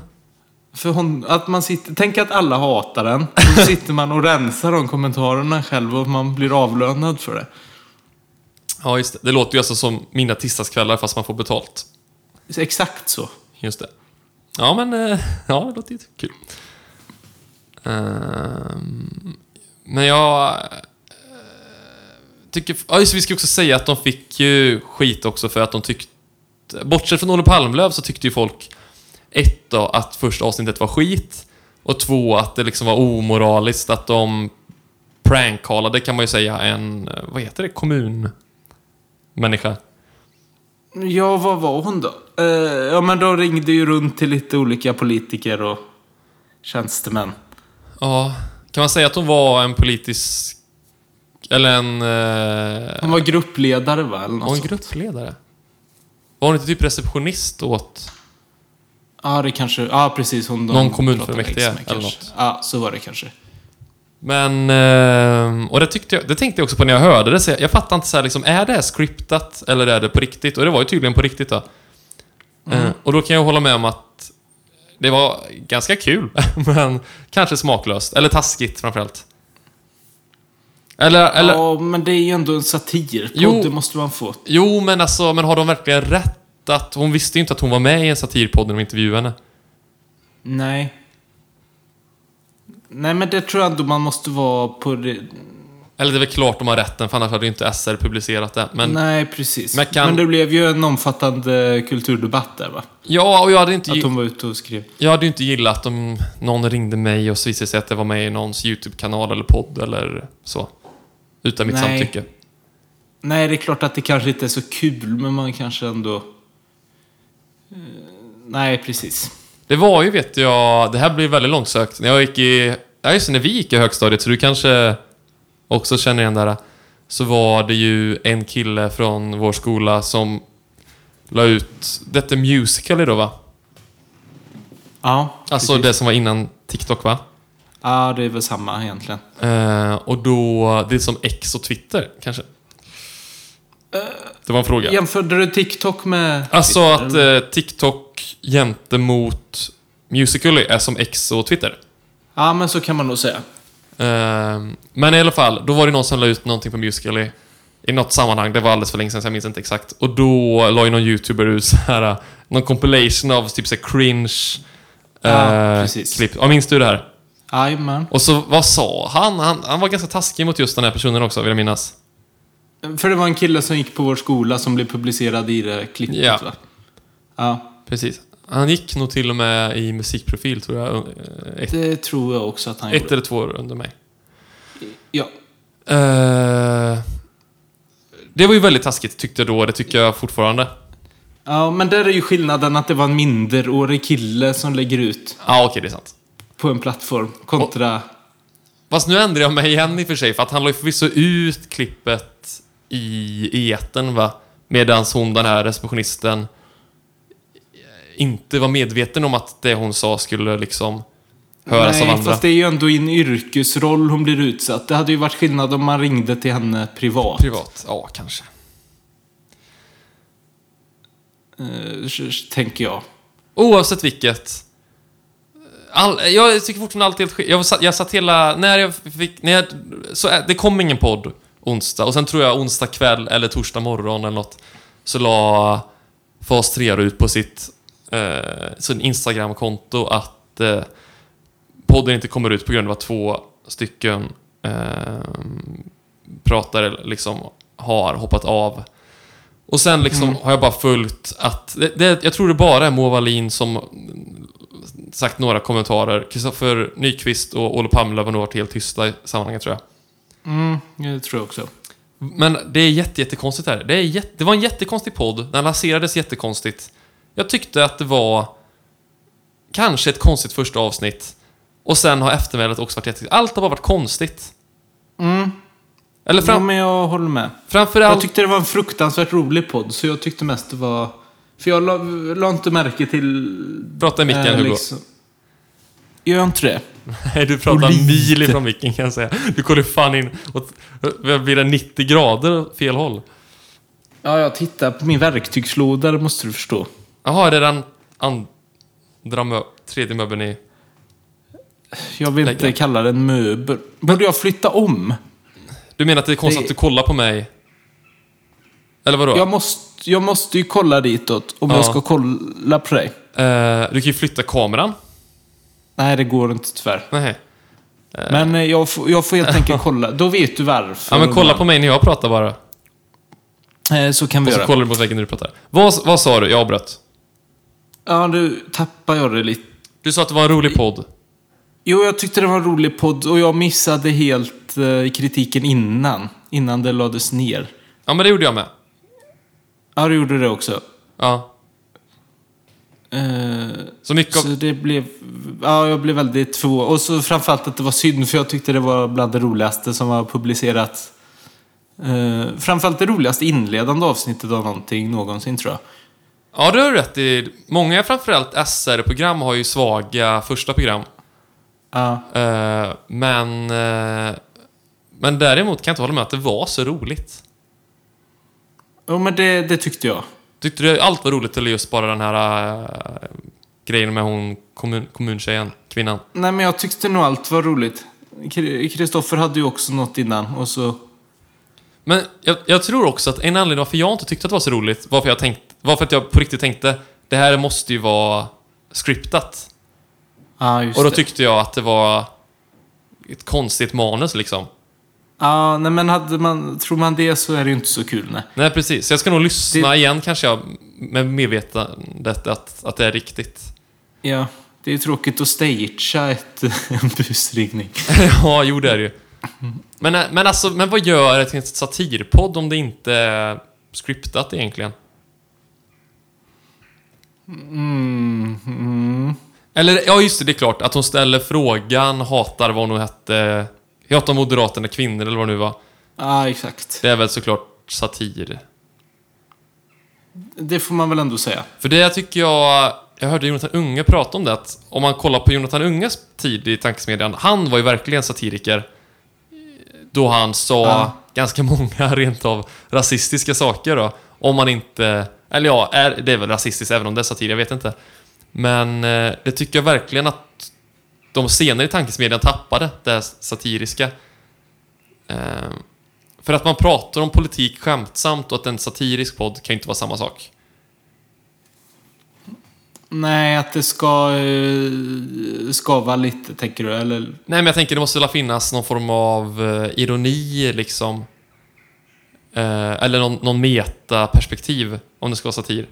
S3: För hon, att man sitter, tänk att alla hatar den.
S2: <laughs>
S3: Och så sitter man och rensar de kommentarerna själv och man blir avlönad för det.
S2: Ja, just det. Det låter ju alltså som mina tisdagskvällar fast man får betalt.
S3: Så Exakt så.
S2: Just det. Ja, men eh, <laughs> ja, det låter ju kul. Ehm, Men jag eh, tycker... Ja, just det, vi ska också säga att de fick ju skit också för att de tyckte... Bortsett från Olle Palmlöv så tyckte ju folk ett då, att första avsnittet var skit och två att det liksom var omoraliskt att de prankcallade kan man ju säga en, eh, vad heter det, kommunmänniska.
S3: Ja, vad var hon då? Eh, ja, men de ringde ju runt till lite olika politiker och tjänstemän.
S2: Ja, kan man säga att hon var en politisk... Eller en... Eh,
S3: Hon var gruppledare va? Eller något
S2: var en
S3: sånt.
S2: gruppledare? Var hon inte typ receptionist åt...
S3: Ja, det kanske... Ja, precis. Hon, de
S2: Någon kommunfullmäktige
S3: pratade med,
S2: eller
S3: kanske.
S2: något.
S3: Ja, så var det kanske.
S2: Men... Eh, och det, tyckte jag, det tänkte jag också på när jag hörde det. Så jag, jag fattade inte så här, liksom, är det här scriptat eller är det på riktigt? Och det var ju tydligen på riktigt då. Eh, och då kan jag hålla med om att det var ganska kul, <laughs> men kanske smaklöst. Eller taskigt framförallt. Eller, eller,
S3: Ja, men det är ju ändå en satir.
S2: Jo.
S3: Det måste man få.
S2: Jo, men alltså, men har de verkligen rätt att... Hon visste ju inte att hon var med i en satirpodd när de intervjuade henne.
S3: Nej. Nej, men det tror jag ändå man måste vara på det.
S2: Eller det är väl klart de har rätten, för annars hade ju inte SR publicerat det. Men
S3: Nej, precis.
S2: Men
S3: Men,
S2: kan-
S3: det blev ju en omfattande kulturdebatt där va?
S2: ja, och jag hade ju inte,
S3: Att
S2: gi-
S3: de var ute och skrev.
S2: jag hade ju inte gillat om någon ringde mig och så visade det sig att det var med i någons YouTube-kanal eller podd eller så. Utan mitt
S3: Nej.
S2: samtycke.
S3: Nej, det är klart att det kanske inte är så kul, men man kanske ändå... Eh, Nej, precis.
S2: Det var ju, vet jag, det här blir väldigt långsökt. När jag gick i, ja just det, när vi gick i högstadiet, så du kanske också känner igen det här. Så var det ju en kille från vår skola som la ut, detta Musical.ly då va?
S3: Ja,
S2: Alltså
S3: precis.
S2: det som var innan TikTok va?
S3: Ja, det är väl samma egentligen.
S2: Eh, och då, det är som X och Twitter kanske? det var en fråga.
S3: Jämförde du TikTok med...
S2: Alltså
S3: Twitter,
S2: att
S3: eller?
S2: eh, TikTok gentemot Musical.ly är som X och Twitter.
S3: Ja, men så kan man nog säga.
S2: Ehm, men i alla fall, då var det någon som la ut någonting på Musical.ly i något sammanhang, det var alldeles för länge sedan så jag minns inte exakt. Och då la ju någon youtuber ut så här, eh, någon compilation av typ så här cringe
S3: Ja,
S2: eh,
S3: precis.
S2: klipp. Ja, minns du det här?
S3: Jajamän.
S2: Och så, vad sa han? han? Han var ganska taskig mot just den här personen också, vill jag minnas.
S3: För det var en kille som gick på vår skola som blev publicerad i det klippet
S2: Ja.
S3: va? Ja,
S2: Precis. Han gick nog till och med i musikprofil, tror jag. eh, Ett,
S3: det tror jag också att han
S2: ett
S3: gjorde.
S2: eller två år under mig.
S3: Ja.
S2: Eh, det var ju väldigt taskigt, tyckte jag då. Det tycker jag fortfarande.
S3: ja, men där är ju skillnaden att det var en minderårig kille som lägger ut
S2: Ja, ah, okej, det är sant.
S3: på en plattform kontra...
S2: Fast nu ändrar jag mig igen i och för sig, för att han la ju förvisso ut klippet i etern va? Medan hon, den här receptionisten, eh, inte var medveten om att det hon sa skulle liksom höras av
S3: Nej,
S2: andra.
S3: fast det är ju ändå i en yrkesroll hon blir utsatt. Det hade ju varit skillnad om man ringde till henne privat.
S2: Privat? Ja, kanske.
S3: Eh, s- s- tänker jag.
S2: Oavsett vilket. All, jag tycker fortfarande allt är helt skit. Jag, satt- jag satt hela... När jag fick... När jag, så, ä- det kom ingen podd onsdag. Och sen tror jag onsdag kväll eller torsdag morgon eller något. Så la Fas 3 ut på sitt, eh, sin Instagram-konto att eh, podden inte kommer ut på grund av att två stycken ehm, pratare liksom har hoppat av. Och sen liksom har jag bara följt att... Det, det, jag tror det bara är Moa Wallin som sagt några kommentarer. Kristoffer Nyqvist och Olof Palmlöv har nog varit helt tysta i sammanhanget tror jag.
S3: Mm, det tror jag också.
S2: Men det är jätte, jättekonstigt här. Det, är jätte, det var en jättekonstig podd. Den lanserades jättekonstigt. Jag tyckte att det var kanske ett konstigt första avsnitt. Och sen har eftermälet också varit jättekonstigt. Allt har bara varit konstigt.
S3: Mm.
S2: Eller
S3: Ja,
S2: fram,
S3: men jag håller med. Jag
S2: framförallt...
S3: tyckte det var en fruktansvärt rolig podd, så jag tyckte mest det var... För jag la, la inte märke till...
S2: Prata i micken
S3: eh,
S2: Hugo.
S3: liksom- Gör jag inte det?
S2: Nej, du pratar
S3: Och lite.
S2: mil ifrån micken kan jag säga. Du kollar fan in åt... Blir det 90 grader åt fel håll?
S3: Ja, jag tittar på min verktygslåda, det måste du förstå.
S2: Jaha, är det den andra mö... Tredje möbeln i...
S3: Jag vill inte
S2: Lägga.
S3: kalla den möbel. Borde jag flytta om?
S2: Du menar att det är konstigt
S3: Det-
S2: att du kollar på mig? Eller vadå?
S3: Jag måste, jag måste ju kolla ditåt om
S2: Ja.
S3: jag ska kolla på dig.
S2: Eh, du kan ju flytta kameran.
S3: Nej, det går inte tyvärr.
S2: Nej.
S3: Men eh, jag får, jag får helt enkelt kolla. Då vet du varför.
S2: Ja, men kolla på mig när jag pratar bara.
S3: Eh, Så kan vi
S2: Och så
S3: göra.
S2: kollar du mot väggen när du pratar. Vad, vad sa du? Jag avbröt.
S3: Ja, nu tappar jag det lite.
S2: Du sa att det var en rolig podd.
S3: Jo, jag tyckte det var en rolig podd och jag missade helt eh, kritiken innan. Innan det lades ner.
S2: Ja, men det gjorde jag med.
S3: Ja, du gjorde det också.
S2: Ja.
S3: Eh,
S2: Så mycket
S3: så
S2: av...
S3: det blev... Ja, jag blev väldigt förvånad. Och så framförallt att det var synd, för jag tyckte det var bland det roligaste som har publicerats. Eh, framförallt det roligaste inledande avsnittet av någonting någonsin, tror jag.
S2: Ja, det har du rätt i. Många, framförallt SR-program, har ju svaga första program.
S3: Ja.
S2: Eh, men... eh, men däremot kan jag inte hålla med att det var så roligt.
S3: Jo, men det, det tyckte jag.
S2: Tyckte du allt var roligt eller just bara den här eh, grejen med hon kommun, kommuntjejen, kvinnan?
S3: Nej, men jag tyckte nog allt var roligt. Kri- Kristoffer hade ju också något innan och så...
S2: Men jag, jag tror också att en anledning varför jag inte tyckte att det var så roligt var för, jag tänkt, var för att jag på riktigt tänkte det här måste ju vara scriptat.
S3: Ja, just
S2: och då
S3: det.
S2: tyckte jag att det var ett konstigt manus liksom.
S3: Ja, nej men hade man, tror man det så är det ju inte så kul nej.
S2: Nej, precis. Så jag ska nog lyssna
S3: Det-
S2: igen kanske jag med medvetandet att, att det är riktigt. <laughs>
S3: Ja, det är ju tråkigt att stagea ett, <laughs> en busringning.
S2: ja, jo det är det ju. Men, eh, men alltså, men vad gör ett- ett satirpodd om det inte är scriptat egentligen?
S3: Mm, mm.
S2: Eller, ja just det, det är klart. Att hon ställer frågan, hatar vad hon nu hette. Jag hatar Moderaterna, kvinnor eller vad det nu var.
S3: Ja, exakt.
S2: Det är väl såklart satir.
S3: Det får man väl ändå säga.
S2: För det tycker jag... Jag hörde Jonathan Unge prata om det, att om man kollar på Jonathan Unges tid i tankesmedjan, han var ju verkligen satiriker. Då han sa
S3: Ja.
S2: ganska många <laughs> rent av rasistiska saker då. Om man inte... Eller ja, är, det är väl rasistiskt även om det är satir, jag vet inte. Men eh, det tycker jag verkligen att de senare i tankesmedjan tappade, det här satiriska. Ehm, för att man pratar om politik skämtsamt och att en satirisk podd kan ju inte vara samma sak.
S3: Nej, att det ska eh, skava lite, tänker du? Eller?
S2: Nej, men jag tänker det måste väl finnas någon form av eh, ironi liksom. Eh, eller någon, någon metaperspektiv om det ska vara satir.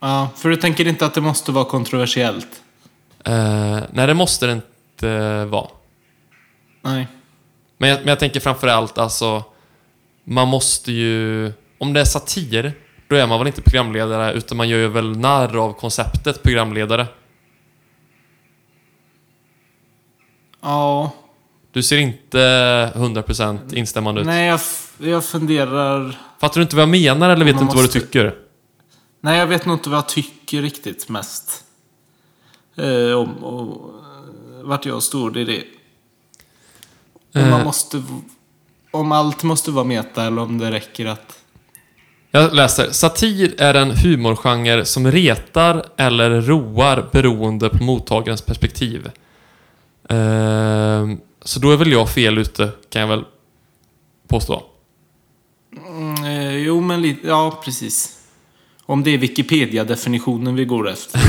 S3: Ja, för du tänker inte att det måste vara kontroversiellt?
S2: Eh, nej, det måste det inte eh, vara.
S3: Nej.
S2: Men jag, men jag tänker framförallt alltså, man måste ju... Om det är satir, då är man väl inte programledare utan man gör ju väl narr av konceptet programledare.
S3: Ja.
S2: Du ser inte 100% instämmande ut.
S3: Nej, jag, f- jag funderar...
S2: Fattar du inte vad jag menar eller vet du
S3: Man
S2: inte vad du
S3: måste-
S2: tycker?
S3: Nej, jag vet nog inte vad jag tycker riktigt mest. Eh, om och, eh, vart jag står i det. Om, man
S2: Eh.
S3: måste, v- om allt måste vara meta eller om det räcker att...
S2: Jag läser. Satir är en humorgenre som retar eller roar beroende på mottagarens perspektiv. Ehm, så då är väl jag fel ute, kan jag väl påstå.
S3: Mm, eh, jo, men lite... Ja, precis. Om det är Wikipedia-definitionen vi går efter.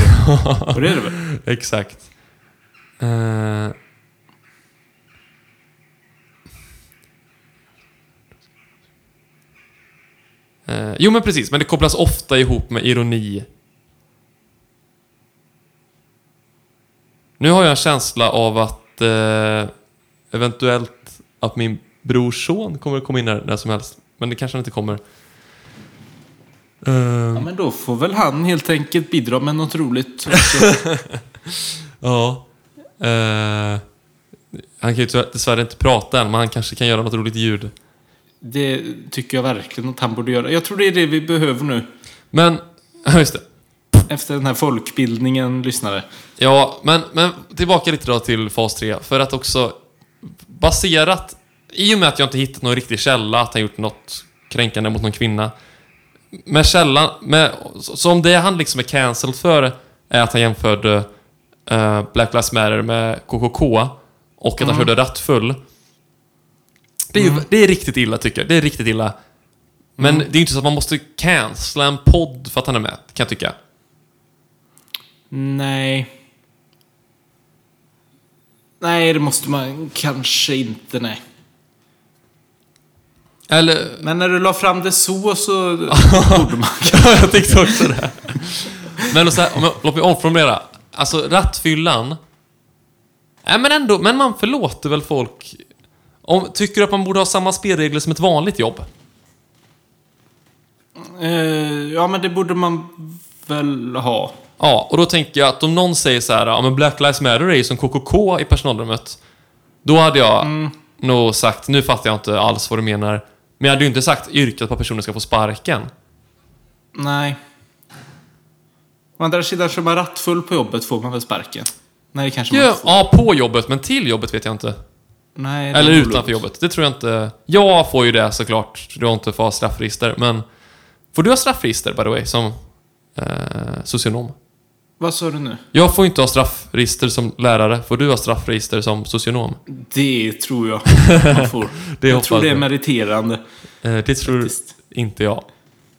S3: och det är det
S2: <laughs>
S3: väl?
S2: Eh, Exakt. Ehm, Eh, jo, men precis. Men det kopplas ofta ihop med ironi. Nu har jag en känsla av att eh, eventuellt att min brors son kommer att komma in när, när som helst. Men det kanske han inte kommer.
S3: Ja,
S2: Eh,
S3: men då får väl han helt enkelt bidra med något roligt. också.
S2: ja. Eh, han kan ju tyvärr- dessvärre inte prata än, men han kanske kan göra något roligt ljud.
S3: Det tycker jag verkligen att han borde göra. Jag tror det är det vi behöver nu.
S2: Men, <laughs> ja, just det.
S3: Efter den här folkbildningen, lyssnare.
S2: Ja, men, men tillbaka lite då till fas 3. För att också baserat... I och med att jag inte hittat någon riktig källa att han gjort något kränkande mot någon kvinna. Med källan... Med, så om det han liksom är cancelled för är att han jämförde eh, Black Lives Matter med KKK och att han körde rattfull. Det är, ju, det är riktigt illa tycker jag. Det är riktigt illa. Men det är ju inte så att man måste cancella en podd för att han är med, kan jag tycka.
S3: Nej. Nej, det måste man kanske inte, nej.
S2: Eller...
S3: Men när du la fram det så, <laughs> så borde man
S2: Ja, jag tänkte också det. Men och så här, om jag, låt mig omformulera. Alltså rattfyllan. Nej men ändå, men man förlåter väl folk. Om, tycker du att man borde ha samma spelregler som ett vanligt jobb?
S3: Eh, ja, men det borde man väl ha.
S2: Ja, och då tänker jag att om någon säger så här, ja men Black Lives Matter är ju som KKK i personalrummet. Då hade jag nog sagt, nu fattar jag inte alls vad du menar. Men jag hade ju inte sagt yrkat på att personen ska få sparken.
S3: Nej. Å andra sidan, kör man rattfull på jobbet får man väl sparken? Nej, det kanske man
S2: Ja,
S3: inte får.
S2: ja, på jobbet, men till jobbet vet jag inte.
S3: Nej, det
S2: Eller
S3: är
S2: utanför
S3: olagligt.
S2: jobbet. Det tror jag inte. Jag får ju det såklart. Du har inte fått ha straffregister. Men får du ha straffregister by the way som eh, socionom?
S3: Vad sa du nu?
S2: Jag får inte ha straffregister som lärare. Får du ha straffregister som socionom?
S3: Det tror <laughs> jag man får.
S2: Det
S3: jag
S2: hoppas
S3: tror det är
S2: jag.
S3: meriterande.
S2: Eh, det tror
S3: Faktiskt.
S2: inte jag.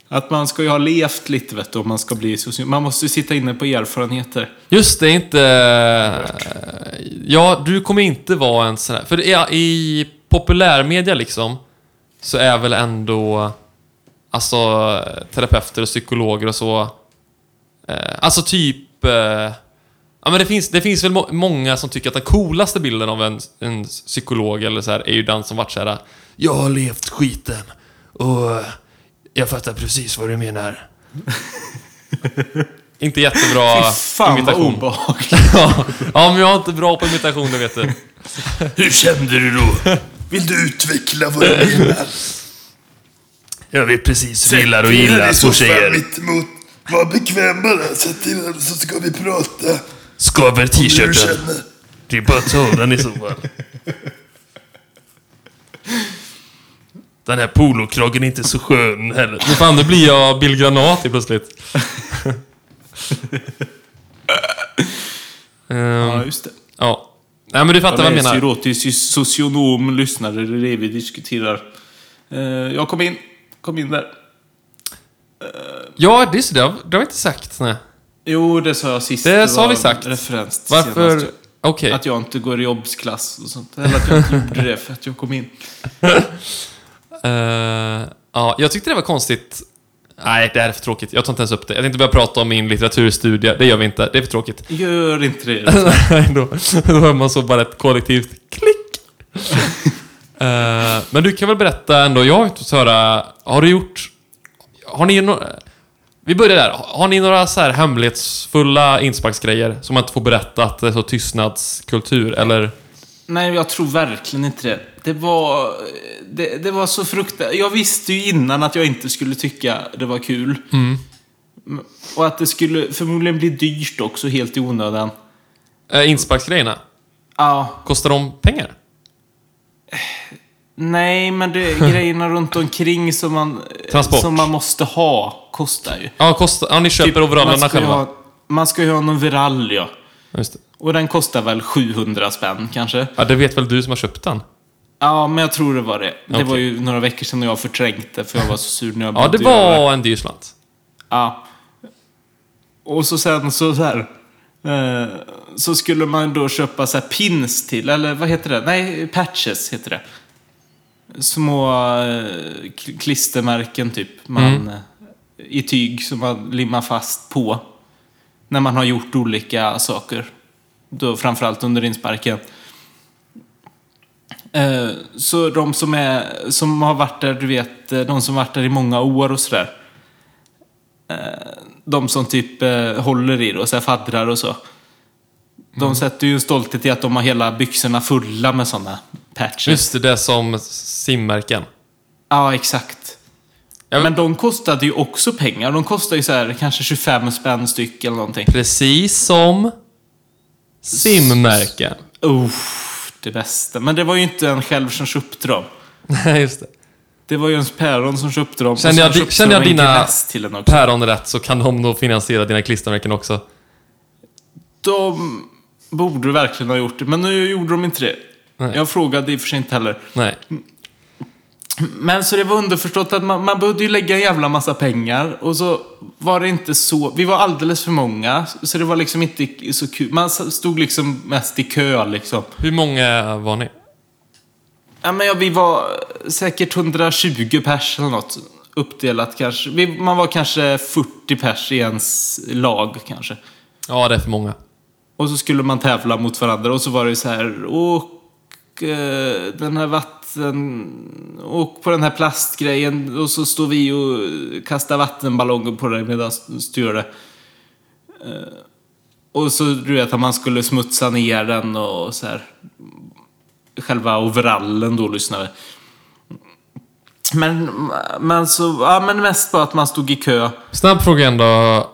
S3: Att man ska ju ha levt lite vet du, om man ska bli socionom. Man måste ju sitta inne på erfarenheter.
S2: Just det, inte... Ja, du kommer inte vara en sån här... För i, i populärmedia liksom, så är väl ändå... Alltså, terapeuter och psykologer och så... Eh, alltså typ... Eh, ja, men det finns, det finns väl må många som tycker att den coolaste bilden av en, en psykolog eller så här, är ju den som varit så här... Jag har levt skiten och eh, jag fattar precis vad du menar. inte jättebra
S3: Fan vad obehagligt.
S2: <laughs> Ja, ja, men jag är inte bra på imitation, det vet du.
S4: Hur kände du då? Vill du utveckla vad du menar?
S5: Jag vet precis hur du gillar och
S4: Sätt dig ner
S5: gillar
S4: i
S5: på
S4: soffan
S5: tjejer.
S4: mittemot. Var bekvämare. Sätt dig ner så ska vi prata.
S5: Skaver
S4: Hur du
S5: t-shirten.
S4: känner.
S5: Det är bara att ta av den i så
S4: <laughs>
S5: fall. Den här polokragen är inte så skön heller.
S2: Men fan, nu blir jag Bill Granat i plötsligt.
S3: <laughs> Ja,
S2: Ehm,
S3: just Mm. det.
S2: ja. Nej, men du fattar vad jag
S3: läser ju
S2: menar.
S3: då till soc- socionom, lyssnare, det är det vi diskuterar. Eh, jag kom in. Kom in där.
S2: Ja, det är så. Det har, det har vi inte sagt. Nej.
S3: Jo, det sa jag sist.
S2: Det sa
S3: var
S2: vi sagt.
S3: Referens till
S2: Varför?
S3: senast.
S2: Okej.
S3: Att jag inte går i jobbsklass och sånt. Eller att jag inte gjorde det för att jag kom in.
S2: Eh, ja, jag tyckte det var konstigt. Nej, det här är för tråkigt. Jag tar inte ens upp det. Jag tänkte börja prata om min litteraturstudie. Det gör vi inte. Det är för tråkigt.
S3: Gör inte
S2: <laughs>
S3: det.
S2: Nej, då, då hör man så bara ett kollektivt klick. Eh, men du kan väl berätta ändå, jag har inte fått höra, har du gjort... Har ni några... Vi börjar där. Har ni några så här hemlighetsfulla insparksgrejer som man inte får berätta att det är så tystnadskultur eller?
S3: Nej, jag tror verkligen inte det. Det var, det, det var så fruktansvärt. Jag visste ju innan att jag inte skulle tycka det var kul. Mm, Och att det skulle förmodligen bli dyrt också, helt i onödan.
S2: Eh, insparksgrejerna?
S3: Ja,
S2: Kostar de pengar?
S3: nej, men det
S2: <laughs>
S3: är grejerna runt omkring som man,
S2: Transport.
S3: som man måste ha kostar ju.
S2: Ja, kostar, ja ni köper
S3: man
S2: overallerna
S3: ska ju
S2: själva?
S3: ha- Man ska ju ha en overall, ja.
S2: Ja, Just det.
S3: Och den kostar väl 700 spänn kanske.
S2: ja, det vet väl du som har köpt den?
S3: Ja, men jag tror det var det. Det
S2: Okej.
S3: var ju några veckor sedan och jag förträngde för jag var så sur när jag
S2: <laughs> Ja, det
S3: bodde över.
S2: var en dyr slant.
S3: Ja. Och så sen så, så här. eh, Så skulle man då köpa så här pins till, eller vad heter det? Nej, patches heter det. små eh, kl- klistermärken typ. Man, eh, I tyg som man limmar fast på. När man har gjort olika saker. Då, framförallt under insparken. Eh, Så de som, är, som har varit där, du vet, eh, de som varit där i många år och sådär. Eh, De som typ eh, håller i det och så här faddrar och så. De sätter ju en stolthet i att de har hela byxorna fulla med sådana patches.
S2: Just det, det som simmärken.
S3: Ja, exakt.
S2: Jag vill-
S3: Men de kostade ju också pengar. De kostade ju så här kanske 25 spänn styck eller någonting.
S2: Precis som <laughs> simmärken.
S3: Uff, det bästa. Men det var ju inte en själv som köpte dem.
S2: Nej, just det.
S3: Det var ju ens päron som köpte dem.
S2: Kände
S3: Och sen
S2: jag di-
S3: köpte
S2: kände
S3: de
S2: jag
S3: en
S2: dina-
S3: grimass Till en också.
S2: Päron rätt så kan de nog finansiera dina klistermärken också.
S3: De borde verkligen ha gjort det, men nu gjorde de inte det.
S2: Nej.
S3: Jag frågade i och för sig inte heller.
S2: Nej.
S3: Men så det var underförstått att man, man behövde ju lägga en jävla massa pengar och så var det inte så... Vi var alldeles för många, så det var liksom inte så kul. Man stod liksom mest i kö liksom.
S2: Hur många var ni?
S3: Ja, men ja, vi var säkert 120 pers eller något. Uppdelat kanske. Vi, man var kanske 40 pers i ens lag kanske.
S2: Ja, det är för många.
S3: Och så skulle man tävla mot varandra och så var det så här, åk eh, den här vatten... Åk på den här plastgrejen och så står vi och kastar vattenballonger på dig medan du gör det. Eh, Och så du vet att man skulle smutsa ner den och så här. Själva overallen då lyssnade. Men, men så, ja men mest bara att man stod i kö.
S2: Snabb fråga ändå.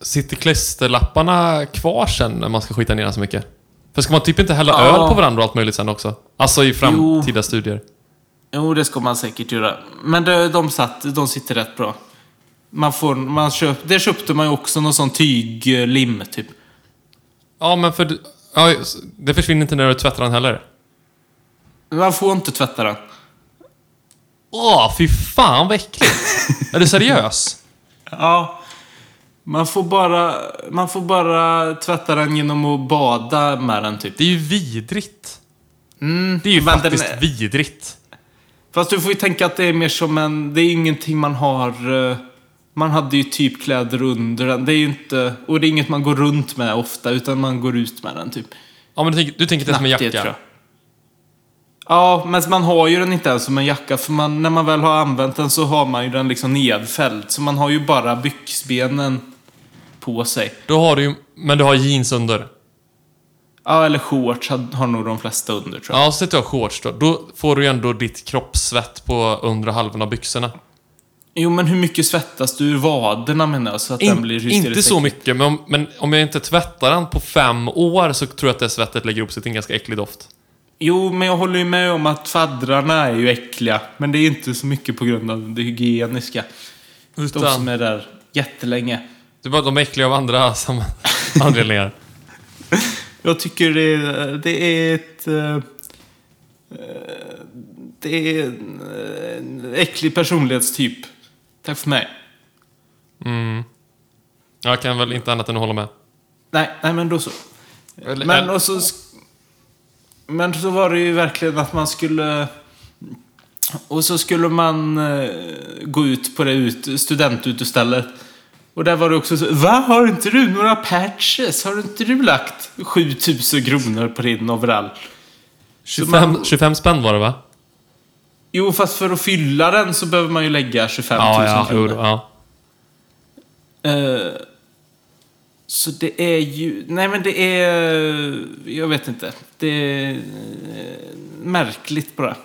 S2: Sitter klisterlapparna kvar sen när man ska skita ner så mycket? För ska man typ inte hälla
S3: Ja.
S2: öl på varandra och allt möjligt sen också? Alltså i framtida studier.
S3: Jo, det ska man säkert göra. Men de, de, satt, de sitter rätt bra. Man får, man köp, det köpte man ju också någon sån tyglim, typ.
S2: Ja, men för... Ja, det försvinner inte när du tvättar den heller.
S3: Man får inte tvätta den.
S2: Åh, fy fan vad äckligt! Är du seriös?
S3: Ja. Man får, bara, man får bara tvätta den genom att bada med den, typ.
S2: Det är ju vidrigt. det är ju
S3: Mm. men den
S2: faktiskt
S3: är-
S2: vidrigt.
S3: Fast du får ju tänka att det är mer som en... Det är ingenting man har... eh, Man hade ju typ kläder under den. Det är ju inte... Och det är inget man går runt med ofta, utan man går ut med den, typ.
S2: Ja, men du tänker, du tänker inte ens med
S3: Nackdel,
S2: jacka?
S3: tror jag. Ja, men man har ju den inte ens som en jacka. För man, när man väl har använt den så har man ju den liksom nedfälld. Så man har ju bara byxbenen på sig.
S2: Då har du ju... Men du har jeans under.
S3: Ja, eller shorts har, har nog de flesta under tror jag.
S2: Ja, så sätter jag shorts då. Då får du ju ändå ditt kroppssvett på undre halvan av byxorna.
S3: Jo, men hur mycket svettas du ur vaderna menar jag? Så att den
S2: In,
S3: blir hysteriskt
S2: inte så
S3: äcklig?
S2: mycket, men om, men om jag inte tvättar den på fem år så tror jag att det svettet lägger ihop sig till en ganska äcklig doft.
S3: Jo, men jag håller ju med om att faddrarna är ju äckliga. Men det är inte så mycket på grund av det hygieniska. De som
S2: Utan,
S3: är där jättelänge.
S2: det är bara att de är äckliga av andra <laughs> sam- anledningar.
S3: Jag tycker det är, det är ett... eh, eh, Det är en eh, en äcklig personlighetstyp. Tack för mig.
S2: Jag kan väl inte annat än att hålla med.
S3: Nej, nej men då så.
S2: Eller-
S3: Men,
S2: eller-
S3: och så, sk- men så var det ju verkligen att man skulle... Och så skulle man eh, gå ut på det ut, studentutestället. Och där var det också så, Va? Har inte du några patches? Har inte du lagt 7000 kronor på din overall?
S2: 25,
S3: man-
S2: 25 spänn var det va?
S3: Jo, fast för att fylla den så behöver man ju lägga 25 000
S2: jo,
S3: kronor.
S2: då, ja.
S3: Eh, så det är ju... Nej, men det är... Jag vet inte. Det är eh, märkligt bara.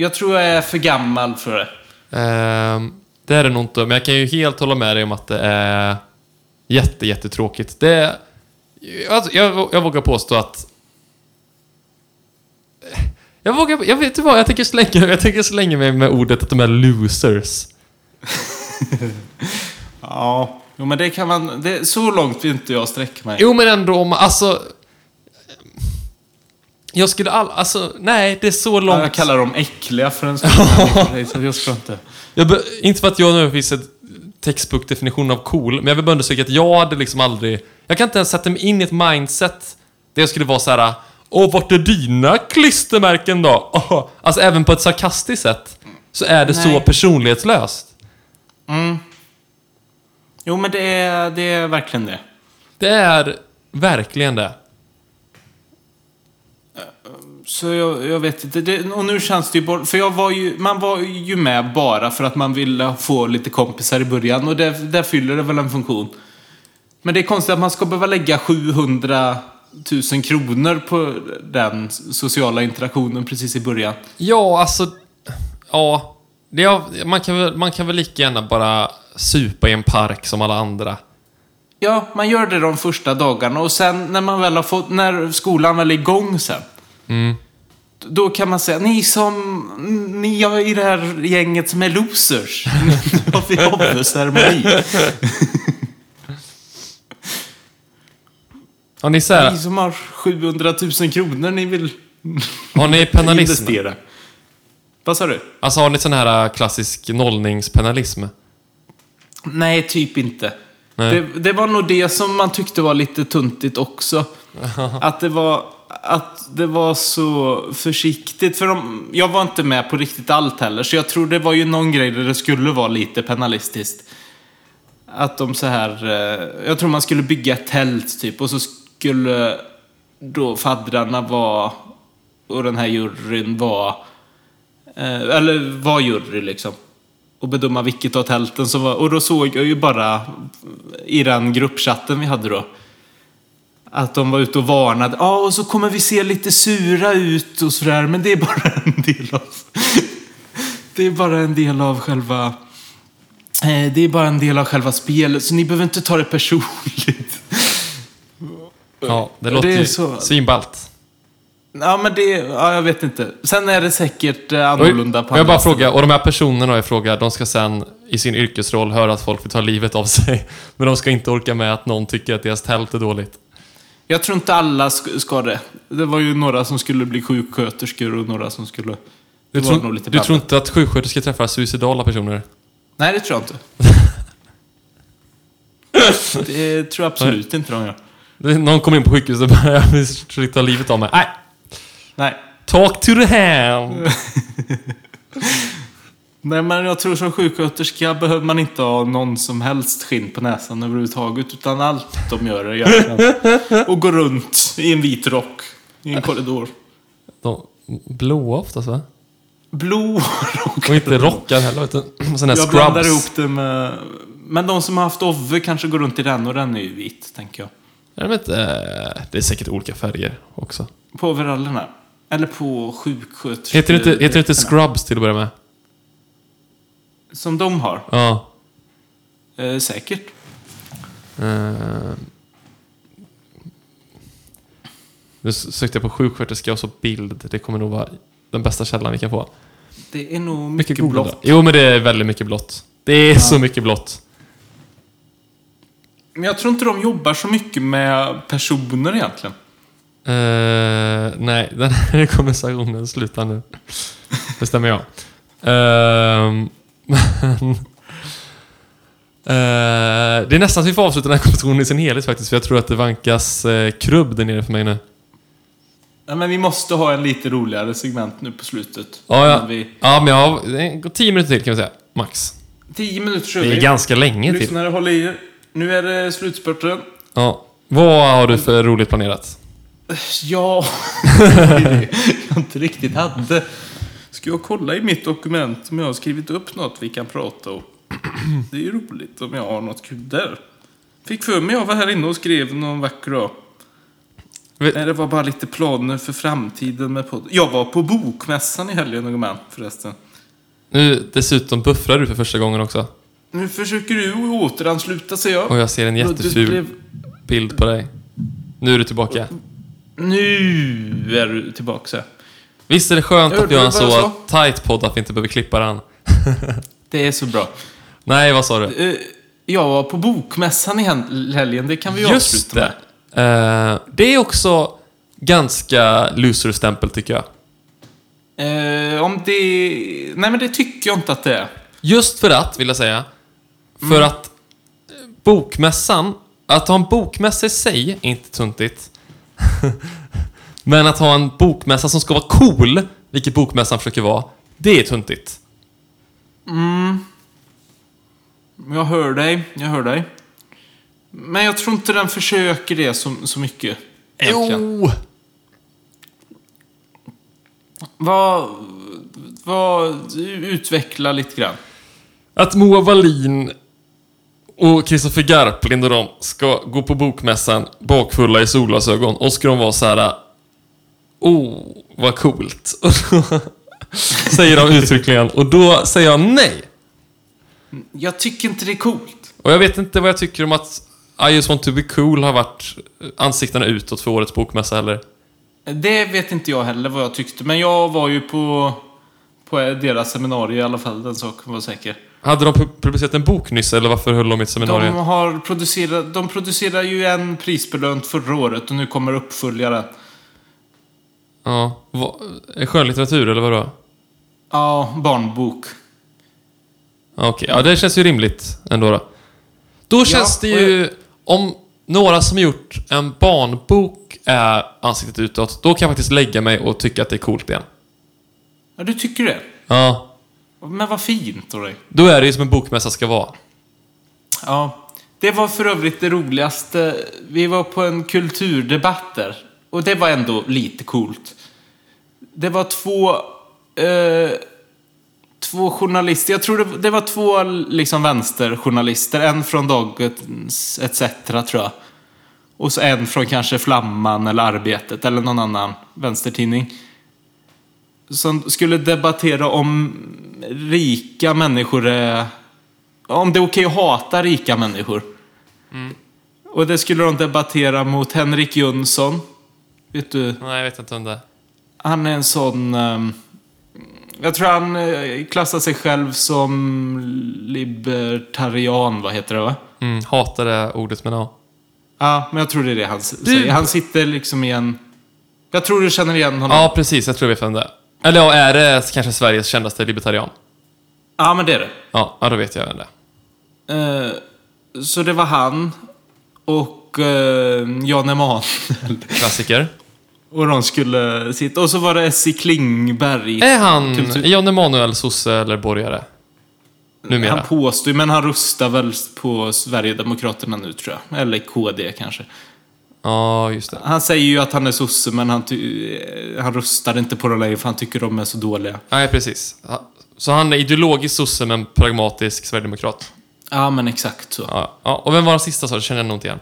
S3: Jag tror jag är för gammal för det.
S2: Ehm, det är det nog inte, men jag kan ju helt hålla med dig om att det är jätte, jättetråkigt. Det är, alltså, jag, jag vågar påstå att... Jag vågar... Jag vet inte vad, jag tänker slänga, jag tänker slänga mig med ordet att de är losers.
S3: Ja. Jo, men det kan man... Det, så långt vill inte jag sträcka mig.
S2: Jo, men ändå om... Alltså... Jag skulle all... Alltså, nej, det är så långt...
S3: Jag kallar dem äckliga för en
S2: <laughs>
S3: stund. här, så jag ska inte...
S2: Jag be, inte för att jag nu finns ett textbook-definition av cool, men jag vill bara understryka att jag hade liksom aldrig... Jag kan inte ens sätta mig in i ett mindset där jag skulle vara så här. Och vart är dina klistermärken då? <laughs> Åh, Alltså även på ett sarkastiskt sätt så är det så
S3: Nej.
S2: personlighetslöst.
S3: Jo, men det är, det är verkligen det.
S2: Det är verkligen det.
S3: Så jag, jag vet inte. Det, och nu känns det ju bort, För jag var ju, man var ju med bara för att man ville få lite kompisar i början. Och där, där fyller det väl en funktion. Men det är konstigt att man ska behöva lägga 700 000 kronor på den sociala interaktionen precis i början.
S2: Ja, alltså... Ja. Det är, man, kan väl, man kan väl lika gärna bara supa i en park som alla andra.
S3: Ja, man gör det de första dagarna och sen när man väl har fått, när skolan väl är igång sen. Då kan man säga, ni som, ni är i det här gänget som är losers. <laughs> Nu har vi hobbyceremoni.
S2: Har ni, så här,
S3: Ni som har 700 000 kronor ni vill <laughs>
S2: har ni penalism?
S3: investera. Vad sa du?
S2: Alltså har ni sån här klassisk nollningspenalism?
S3: Nej, typ inte.
S2: Nej.
S3: Det, det var nog det som man tyckte var lite tuntigt också. Att det var, att det var så försiktigt. För de, jag var inte med på riktigt allt heller, så jag tror det var ju någon grej där det skulle vara lite penalistiskt. Att de så här... eh, Jag tror man skulle bygga ett tält typ och så skulle då faddrarna vara och den här juryn var eh, eller var jury liksom. Och bedöma vilket av tälten som var. Och då såg jag ju bara i den gruppchatten vi hade då. Att de var ute och varnade. Ja, och så kommer vi se lite sura ut och sådär. Men det är bara en del av... <laughs> Det är bara en del av själva... eh, Det är bara en del av själva spelet. Så ni behöver inte ta det personligt. <laughs>
S2: Ja, det låter
S3: Det är
S2: ju
S3: så-
S2: svinballt.
S3: Ja, men det... Ja, jag vet inte. Sen är det säkert eh,
S2: Och-
S3: annorlunda på
S2: och jag
S3: andra
S2: bara frågar, och de här personerna jag frågar, de ska sen i sin yrkesroll höra att folk vill ta livet av sig. <laughs> Men de ska inte orka med att någon tycker att deras tält är dåligt.
S3: Jag tror inte alla sk- ska det. Det var ju några som skulle bli sjuksköterskor och några som skulle...
S2: Du,
S3: Det var nog
S2: tror,
S3: lite
S2: du tror
S3: blandat.
S2: inte att sjuksköterskor träffar suicidala personer?
S3: Nej, det tror jag
S2: <laughs>
S3: inte. det tror jag absolut inte de gör.
S2: Det är- Någon kommer in på sjukhuset och bara <laughs> jag vill försöka ta livet av mig. Nej,
S3: Nej.
S2: talk to the
S3: <laughs>
S2: hand!
S3: Nej, men jag tror som sjuksköterska behöver man inte ha någon som helst skinn på näsan överhuvudtaget. Utan allt de gör är
S2: <laughs>
S3: egentligen- Och gå runt i en vit rock i en korridor.
S2: De blåa oftast va?
S3: Blå
S2: Och inte rockar heller. Utan <clears throat> sådana här
S3: Jag blandar
S2: scrubs.
S3: ihop det med... Men de som har haft Ove kanske går runt i den och den är ju vit, tänker jag.
S2: Är de inte, eh, det är säkert olika färger också.
S3: På overallerna? Eller på sjuksköterskor?
S2: Heter det inte, heter det inte scrubs till att börja med?
S3: Som de har?
S2: Ja.
S3: Eh, säkert.
S2: Eh, nu s- sökte jag på sjuksköterska och så bild. Det kommer nog vara den bästa källan vi kan få.
S3: Det är nog mycket,
S2: Mycket goda.
S3: blått.
S2: Jo, men det är väldigt mycket blått. Det är så mycket blått.
S3: Men jag tror inte de jobbar så mycket med personer egentligen.
S2: Eh, nej, <laughs> den här konversationen slutar nu. Bestämmer jag. Ehm, men, eh, det är nästan så vi får avsluta den här konversationen i sin helhet faktiskt. För jag tror att det vankas eh, krubb där nere för mig nu.
S3: Ja, men vi måste ha en lite roligare segment nu på slutet.
S2: Ja, ja.
S3: Men Vi,
S2: ja men jag har tio minuter till kan vi säga. Max.
S3: tio minuter kör
S2: Det
S3: vi.
S2: är ganska länge till.
S3: Lyssnare, håll i er. Nu är det slutspurten.
S2: Ja. Vad har du för roligt planerat? <laughs>
S3: Ja, jag inte riktigt hade. Ska jag kolla i mitt dokument om jag har skrivit upp något vi kan prata om? Det är ju roligt om jag har något kul där. Fick för mig jag var här inne och skrev någon vacker dag.
S2: Vi-
S3: Nej, det var bara lite planer för framtiden med podden. Jag var på bokmässan i helgen och med förresten.
S2: Nu dessutom buffrar du för första gången också.
S3: Nu försöker du återansluta sig jag.
S2: Och jag ser en
S3: Luddigt
S2: jätteful
S3: blev-
S2: bild på dig. Nu är du tillbaka.
S3: Nu är du tillbaka.
S2: Visst är det skönt
S3: Jag
S2: att vi har en
S3: hörde vad jag
S2: så tight podd att vi inte behöver klippa den?
S3: Det är så bra.
S2: Nej, vad sa du?
S3: Eh, Jag var på bokmässan i hel- helgen, det kan vi ju
S2: Just
S3: avsluta
S2: det!
S3: med.
S2: Eh, det är också ganska loser-stämpel tycker jag.
S3: Eh, om det... Nej, men det tycker jag inte att det är.
S2: Just för att, vill jag säga. För att eh, bokmässan, att ha en bokmässa i sig är inte tuntigt. <laughs> Men att ha en bokmässa som ska vara cool, vilket bokmässan försöker vara, det är tuntigt.
S3: Jag hör dig, jag hör dig. Men jag tror inte den försöker det så, så mycket. egentligen. Vad... Vad... Utveckla lite grann.
S2: Att Moa Wallin och Kristoffer Garplind och de ska gå på bokmässan bakfulla i solglasögon och ska de vara så här. Oh, vad coolt. <laughs> Och då säger de uttryckligen och då säger jag nej.
S3: Jag tycker inte det är coolt.
S2: Och jag vet inte vad jag tycker om att I just want to be cool har varit ansiktena utåt för årets bokmässa heller.
S3: Det vet inte jag heller vad jag tyckte, men jag var ju på... På deras seminarium i alla fall, den saken var säker.
S2: Hade de pu- publicerat en bok nyss eller varför höll de ett seminarium?
S3: De har producerat... De producerade ju en prisbelönt förra året och nu kommer uppföljaren.
S2: Ja. Va, skönlitteratur eller vadå?
S3: Ja, barnbok.
S2: Ja, Okej, ja det känns ju rimligt ändå då. Då känns det
S3: och
S2: ju... Om några som gjort en barnbok är ansiktet utåt, då kan jag faktiskt lägga mig och tycka att det är coolt igen.
S3: Ja, du tycker det?
S2: Ja.
S3: Men vad fint av dig.
S2: Då är det ju som en bokmässa ska vara.
S3: Ja. Det var för övrigt det roligaste. Vi var på en kulturdebatt där. Och det var ändå lite coolt. Det var två... Eh, två journalister. Jag tror det, det var två liksom vänsterjournalister. En från Dagens ETC tror jag. Och så en från kanske Flamman eller Arbetet eller någon annan vänstertidning. Som skulle debattera om rika människor eh, är om det är okej att hata rika människor. Och det skulle de debattera mot Henrik Jönsson. Vet du,
S2: Nej, jag vet inte om det.
S3: han är en sån... ehm, jag tror han eh, klassar sig själv som libertarian, vad heter det va?
S2: Mm, hatar det ordet men ja.
S3: Ja, men jag tror det är det han s- säger. Han sitter liksom i en... Jag tror du känner igen honom.
S2: Ja, precis. Jag tror jag vet vem det är. Eller ja, är det kanske Sveriges kändaste libertarian?
S3: ja men det är det.
S2: Ja, ja då vet jag vem det är.
S3: Eh, så det var han och eh, Jan Emanuel. <laughs>
S2: Klassiker.
S3: Och de skulle sitta... Och så var det S.C. Klingberg.
S2: Är han
S3: Kultur-
S2: Jan Emanuel sosse eller borgare? Numera.
S3: Han påstår men han röstar väl på Sverigedemokraterna nu tror jag. Eller KD kanske.
S2: Ja, just det.
S3: Han säger ju att han är sosse men han, ty- eh, han röstar inte på dem längre för han tycker de är så dåliga.
S2: Nej, precis. Ha- Så han är ideologisk sosse men pragmatisk sverigedemokrat.
S3: Ja men exakt så.
S2: Ja, ja. Och vem var den sista sa du? Det känner jag nog inte igen.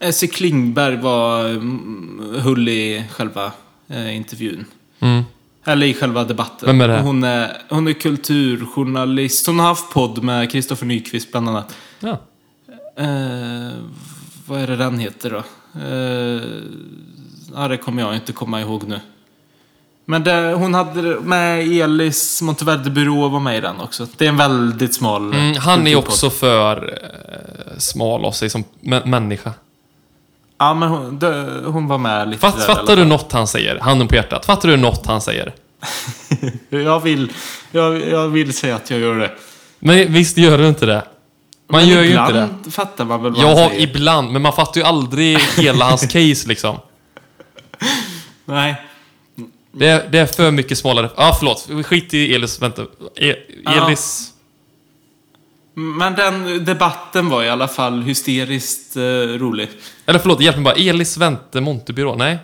S3: S.C. Klingberg var... mm, Höll i själva eh, intervjun. Eller i själva debatten.
S2: Mm. Vem är det?
S3: Hon är, hon är kulturjournalist. Hon har haft podd med Kristoffer Nyqvist bland annat.
S2: Ja.
S3: Eh, vad är det den heter då? Eh, ja, det kommer jag inte komma ihåg nu. Men det, hon hade det med Elis Monteverde-byrå var med i den också. Det är en väldigt smal...
S2: Mm, han är ju
S3: kulturpodd.
S2: också för eh, smal av sig som mä- människa.
S3: Ja, men hon, det, hon var med lite
S2: Fatt,
S3: där
S2: fattar du något han säger? Handen på hjärtat. Fattar du något han säger?
S3: du? Jag vill, jag, jag vill säga att jag gör det.
S2: Men visst gör du inte det? Man
S3: Men
S2: gör ju inte
S3: ibland
S2: det.
S3: fattar man väl vad han
S2: Ja,
S3: säger.
S2: ibland. Men man fattar ju aldrig hela
S3: <laughs>
S2: hans case liksom.
S3: Nej.
S2: Det är, det är för mycket smalare. Ah, förlåt. Skit i Elis. Vänta. E Elis.
S3: Men den debatten var i alla fall hysteriskt eh, rolig.
S2: Eller förlåt, hjälp mig bara. Elis Vente Montebyrå? Nej?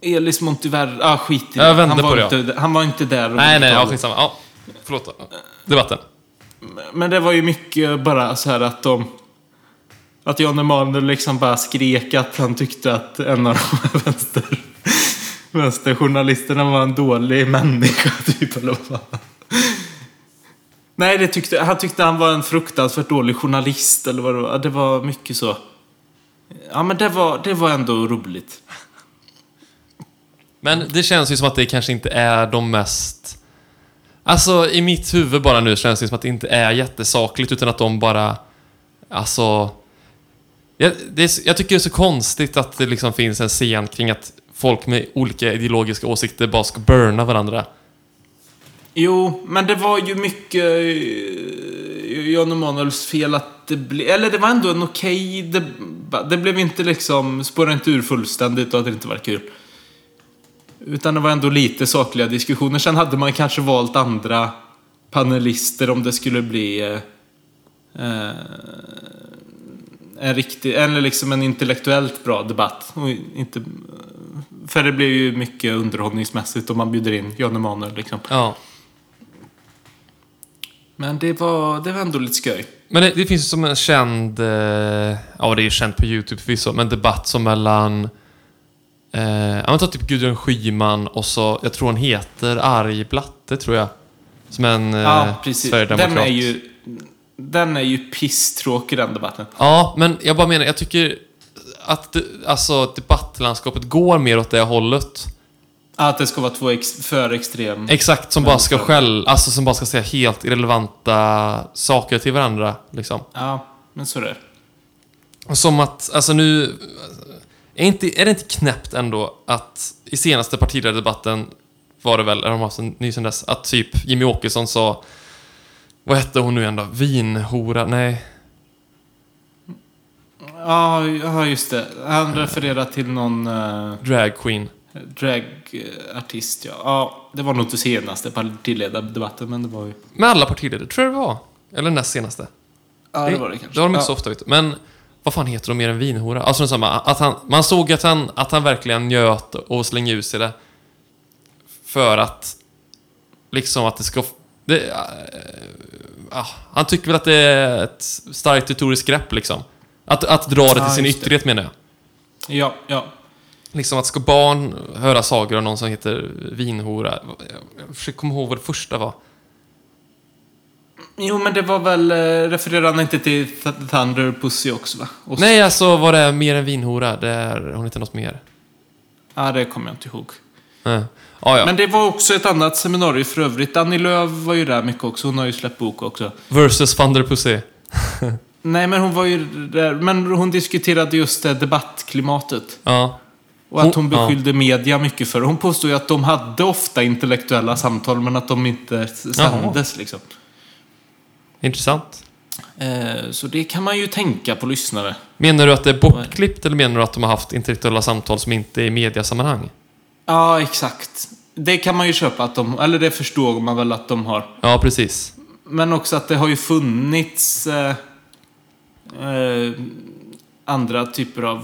S3: Elis Montiver... Ah, skit i det.
S2: Jag vände
S3: han, var
S2: på det, ja.
S3: inte, han var inte där. och
S2: Nej, nej, ja,
S3: betalade.
S2: skitsamma. Ja, förlåt. då. Debatten.
S3: Men det var ju mycket bara så här att de... Att Jan Emanuel liksom bara skrek att han tyckte att en av de här vänster, vänsterjournalisterna var en dålig människa, <laughs> typ. Eller vad fan. Nej, det tyckte, han tyckte han var en fruktansvärt dålig journalist, eller vad det var. Det var mycket så. Ja, men det var, det var ändå roligt.
S2: Men det känns ju som att det kanske inte är de mest... Alltså, i mitt huvud bara nu känns det som att det inte är jättesakligt, utan att de bara... Alltså... Jag, det är, så- jag tycker det är så konstigt att det liksom finns en scen kring att folk med olika ideologiska åsikter bara ska burna varandra.
S3: Jo, men det var ju mycket eh, Jan Emanuels fel att det blev... Eller det var ändå en okej... Det, det blev inte liksom... Spåra inte ur fullständigt och att det inte var kul. Utan det var ändå lite sakliga diskussioner. Sen hade man kanske valt andra panelister om det skulle bli eh, eh, en riktig, eller liksom en intellektuellt bra debatt. Och inte, för det blir ju mycket underhållningsmässigt om man bjuder in Jan Emanuel liksom.
S2: Ja.
S3: Men det var, det var ändå lite skoj.
S2: Men det, det finns ju som en känd... Eh, ja, det är ju känt på YouTube förvisso, men debatt som mellan... Eh, ja, men ta typ Gudrun Schyman och så, jag tror hon heter Arg Blatte, tror jag. Som är en eh,
S3: Ja, precis.
S2: sverigedemokrat.
S3: Den är ju, den är ju pisstråkig den debatten.
S2: Ja, men jag bara menar, jag tycker att det, alltså, debattlandskapet går mer åt det hållet.
S3: Att det ska vara två ex, för extrem...
S2: Exakt, som bara ska
S3: Ja.
S2: skäll, alltså som bara ska säga helt irrelevanta saker till varandra. Liksom.
S3: ja, men så är det.
S2: Och Som att, alltså nu... Är, inte, är det inte knäppt ändå att i senaste partiledardebatten var det väl, eller de har haft en ny sen dess, att typ Jimmy Åkesson sa... Vad hette hon nu igen då? Vinhora? Nej.
S3: Ja, ja, just det. Han refererar till någon uh,
S2: Drag queen.
S3: dragartist, ja. ja. Det var nog inte senaste partiledardebatten, men det var ju...
S2: Med alla partiledare, tror jag det var. Eller näst senaste.
S3: Ja, det var det kanske.
S2: Det har de inte
S3: ja.
S2: så ofta vet du. Men vad fan heter de mer än vinhora? Alltså samma, att han, man såg att han, att han verkligen njöt och slängde ur sig det. För att liksom att det ska... Det, äh, ah, han tycker väl att det är ett starkt retoriskt grepp liksom. Att, att dra det till
S3: Ja,
S2: sin
S3: just det.
S2: ytterlighet menar jag.
S3: Ja, ja.
S2: Liksom att ska barn höra sagor om någon som heter vinhora? Jag försöker komma ihåg vad det första var.
S3: Jo, men det var väl... eh, Refererar han inte till Th- Thunder Pussy också, va? Och-
S2: Nej, alltså var det mer än vinhora? Det är, hon heter något mer.
S3: Ja, det kommer jag inte ihåg.
S2: Äh. Ah, ja.
S3: Men det var också ett annat seminarium för övrigt. Annie Lööf var ju där mycket också. Hon har ju släppt bok också.
S2: Versus Thunderpussy.
S3: Nej, men hon var ju där. Men hon diskuterade just det debattklimatet.
S2: Ja.
S3: Och att hon
S2: Hon- ja.
S3: beskyllde media mycket för. Hon påstod ju att de hade ofta intellektuella samtal, men att de inte s-
S2: Jaha.
S3: sändes liksom.
S2: Intressant.
S3: Eh, så det kan man ju tänka på lyssnare.
S2: Menar du att det är bortklippt eller menar du att de har haft intellektuella samtal som inte är i mediasammanhang?
S3: Ja, exakt. Det kan man ju köpa att de, eller det förstår man väl att de har.
S2: Ja, precis.
S3: Men också att det har ju funnits eh, eh, andra typer av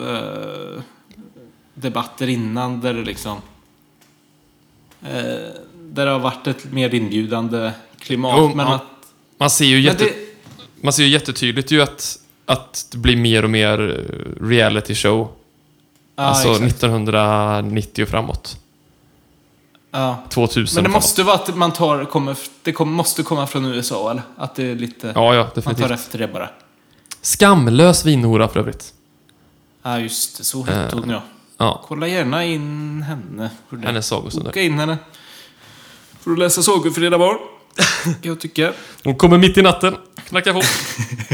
S3: eh, debatter innan där det liksom... Eh, där det har varit ett mer inbjudande klimat.
S2: Jo,
S3: men
S2: ja,
S3: att...
S2: Man ser ju,
S3: Men
S2: jätte,
S3: det,
S2: man ser ju jättetydligt ju att, att det blir mer och mer eh, reality show.
S3: ja,
S2: alltså
S3: exakt.
S2: 1990 och framåt.
S3: Ja.
S2: 2000
S3: Men det
S2: framåt.
S3: måste vara att man tar, kommer, det kom, måste komma från USA, eller? Att det är lite...
S2: Ja, ja,
S3: man tar
S2: definitivt.
S3: efter det bara.
S2: Skamlös vinhora för övrigt.
S3: Ja, just det. Så
S2: Eh.
S3: hette hon, ja.
S2: Ja,
S3: Kolla gärna in henne. ordentligt.
S2: hennes sagostund.
S3: Boka in henne. Får du läsa sagor för dina
S2: <laughs>
S3: barn. Kan jag tycka.
S2: Hon kommer mitt i natten, knackar på.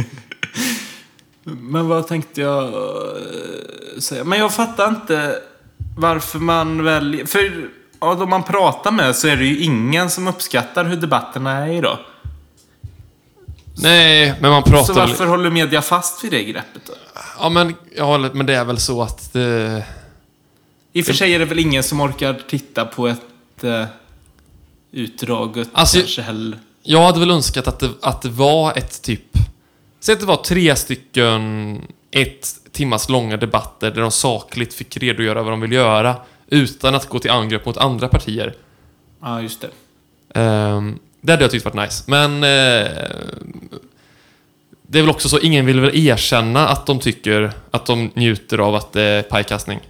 S3: <laughs> Men vad tänkte jag eh, säga? Men jag fattar inte varför man väljer... För ja, de man pratar med så är det ju ingen som uppskattar hur debatterna är idag.
S2: Nej, men man pratar
S3: Så
S2: väl-
S3: varför håller media fast vid det greppet då?
S2: Ja, men, ja, men det är väl så att... eh,
S3: I och för sig är det väl ingen som orkar titta på ett eh, utdraget
S2: Alltså,
S3: kanske heller.
S2: Jag hade väl önskat att det, att det var ett typ... Säg att det var tre stycken ett timmars långa debatter där de sakligt fick redogöra vad de vill göra utan att gå till angrepp mot andra partier.
S3: Ja, just det.
S2: Ehm, det hade jag tyckt varit nice. Men... ehm, det är väl också så, ingen vill väl erkänna att de tycker att de njuter av att det är pajkastning.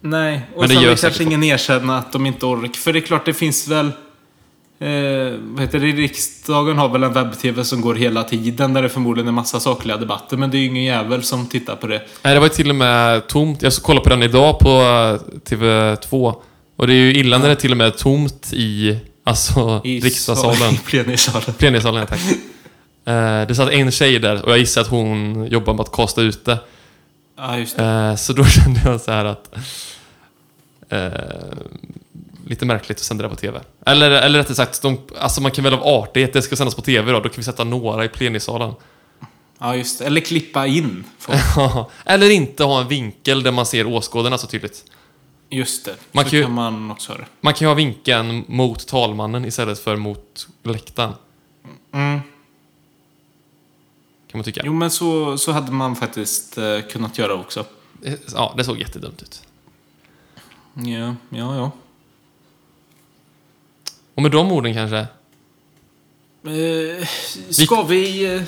S3: Nej, och
S2: Men det
S3: sen
S2: gör
S3: vill
S2: säkert
S3: kanske ingen erkänna att de inte orkar. För det är klart, det finns väl... Eh, vad heter det? Riksdagen har väl en webb-tv som går hela tiden där det förmodligen är massa sakliga debatter. Men det är ju ingen jävel som tittar på det.
S2: Nej, det var ju till och med tomt. Jag kollade på den idag på eh, TV2. Och det är ju illa när det till och med är tomt i, alltså,
S3: I sal-
S2: <laughs>
S3: <laughs>
S2: riksdagssalen.
S3: I plenisalen.
S2: Plenisalen, tack. Eh, det satt en tjej där och jag gissar att hon jobbar med att kasta ute.
S3: Ja, just det.
S2: Eh, så då <laughs> kände jag så här att... Eh, lite märkligt att sända det på TV. Eller, eller rättare sagt, de, alltså man kan väl av artighet, det ska sändas på TV då, då kan vi sätta några i plenisalen. <laughs>
S3: Ja, just det. Eller klippa in. folk.
S2: eller inte ha en vinkel där man ser åskådarna så tydligt.
S3: Just det.
S2: Man
S3: så
S2: kan
S3: kan,
S2: ju-
S3: man också ha det.
S2: Man kan ju ha vinkeln mot talmannen istället för mot läktaren.
S3: Mm.
S2: Kan man tycka.
S3: Jo, men så, så hade man faktiskt eh, kunnat göra också.
S2: Eh, Ja, det såg jättedumt ut.
S3: Ja, ja, ja.
S2: Och med de orden kanske.
S3: Eh, ska vi eh,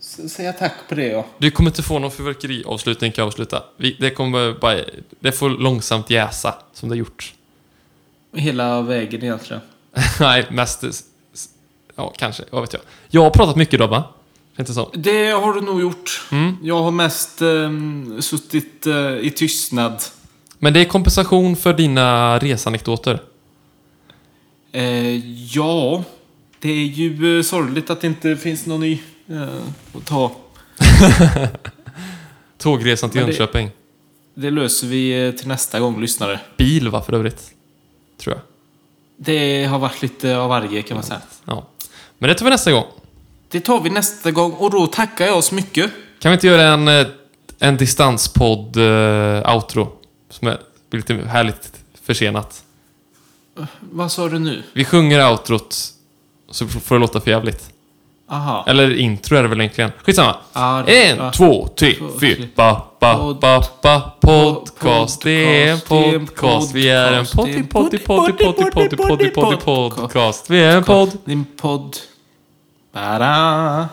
S3: s- säga tack på det, ja?
S2: Du kommer inte få någon fyrverkeriavslutning kan jag avsluta. Vi, det kommer bara... Det får långsamt jäsa som det har gjort. <laughs>
S3: Hela vägen egentligen.
S2: Nej, mest... s- s- Ja, kanske. Vad vet jag. Jag har pratat mycket idag va? Känns det som.
S3: Det har du nog gjort. Jag har mest eh, suttit eh, i tystnad.
S2: Men det är kompensation för dina resanekdoter.
S3: Eh, ja, det är ju eh, sorgligt att det inte finns någon ny eh, att ta.
S2: Tågresan till
S3: Men det-
S2: Jönköping.
S3: Det löser vi eh, till nästa gång, lyssnare.
S2: Bil va, för övrigt? Tror jag.
S3: Det har varit lite av varje kan man säga.
S2: Ja. Men det tar vi nästa gång.
S3: Det tar vi nästa gång och då tackar jag så mycket.
S2: Kan vi inte göra en, eh, en distanspodd eh, outro? Som är lite härligt försenat.
S3: Vad sa du nu?
S2: Vi sjunger outrot så f- får det låta för jävligt.
S3: Aha.
S2: Eller intro är det väl egentligen. Skitsamma.
S3: Ja, det-
S2: En,
S3: ja.
S2: två, tre,
S3: Två,
S2: fyra.
S3: tre.
S2: Ba, ba,
S3: Pod-
S2: ba, ba, podcast.
S3: pod-
S2: Det är en
S3: podcast, det är en
S2: podcast. Vi är en
S3: podcast, det är
S2: potti,
S3: en
S2: potti, potti,
S3: poddi,
S2: potti, potti,
S3: poddi, poddi,
S2: potti, potti,
S3: poddi,
S2: podcast. Vi är en podd.
S3: Din podd. Bara.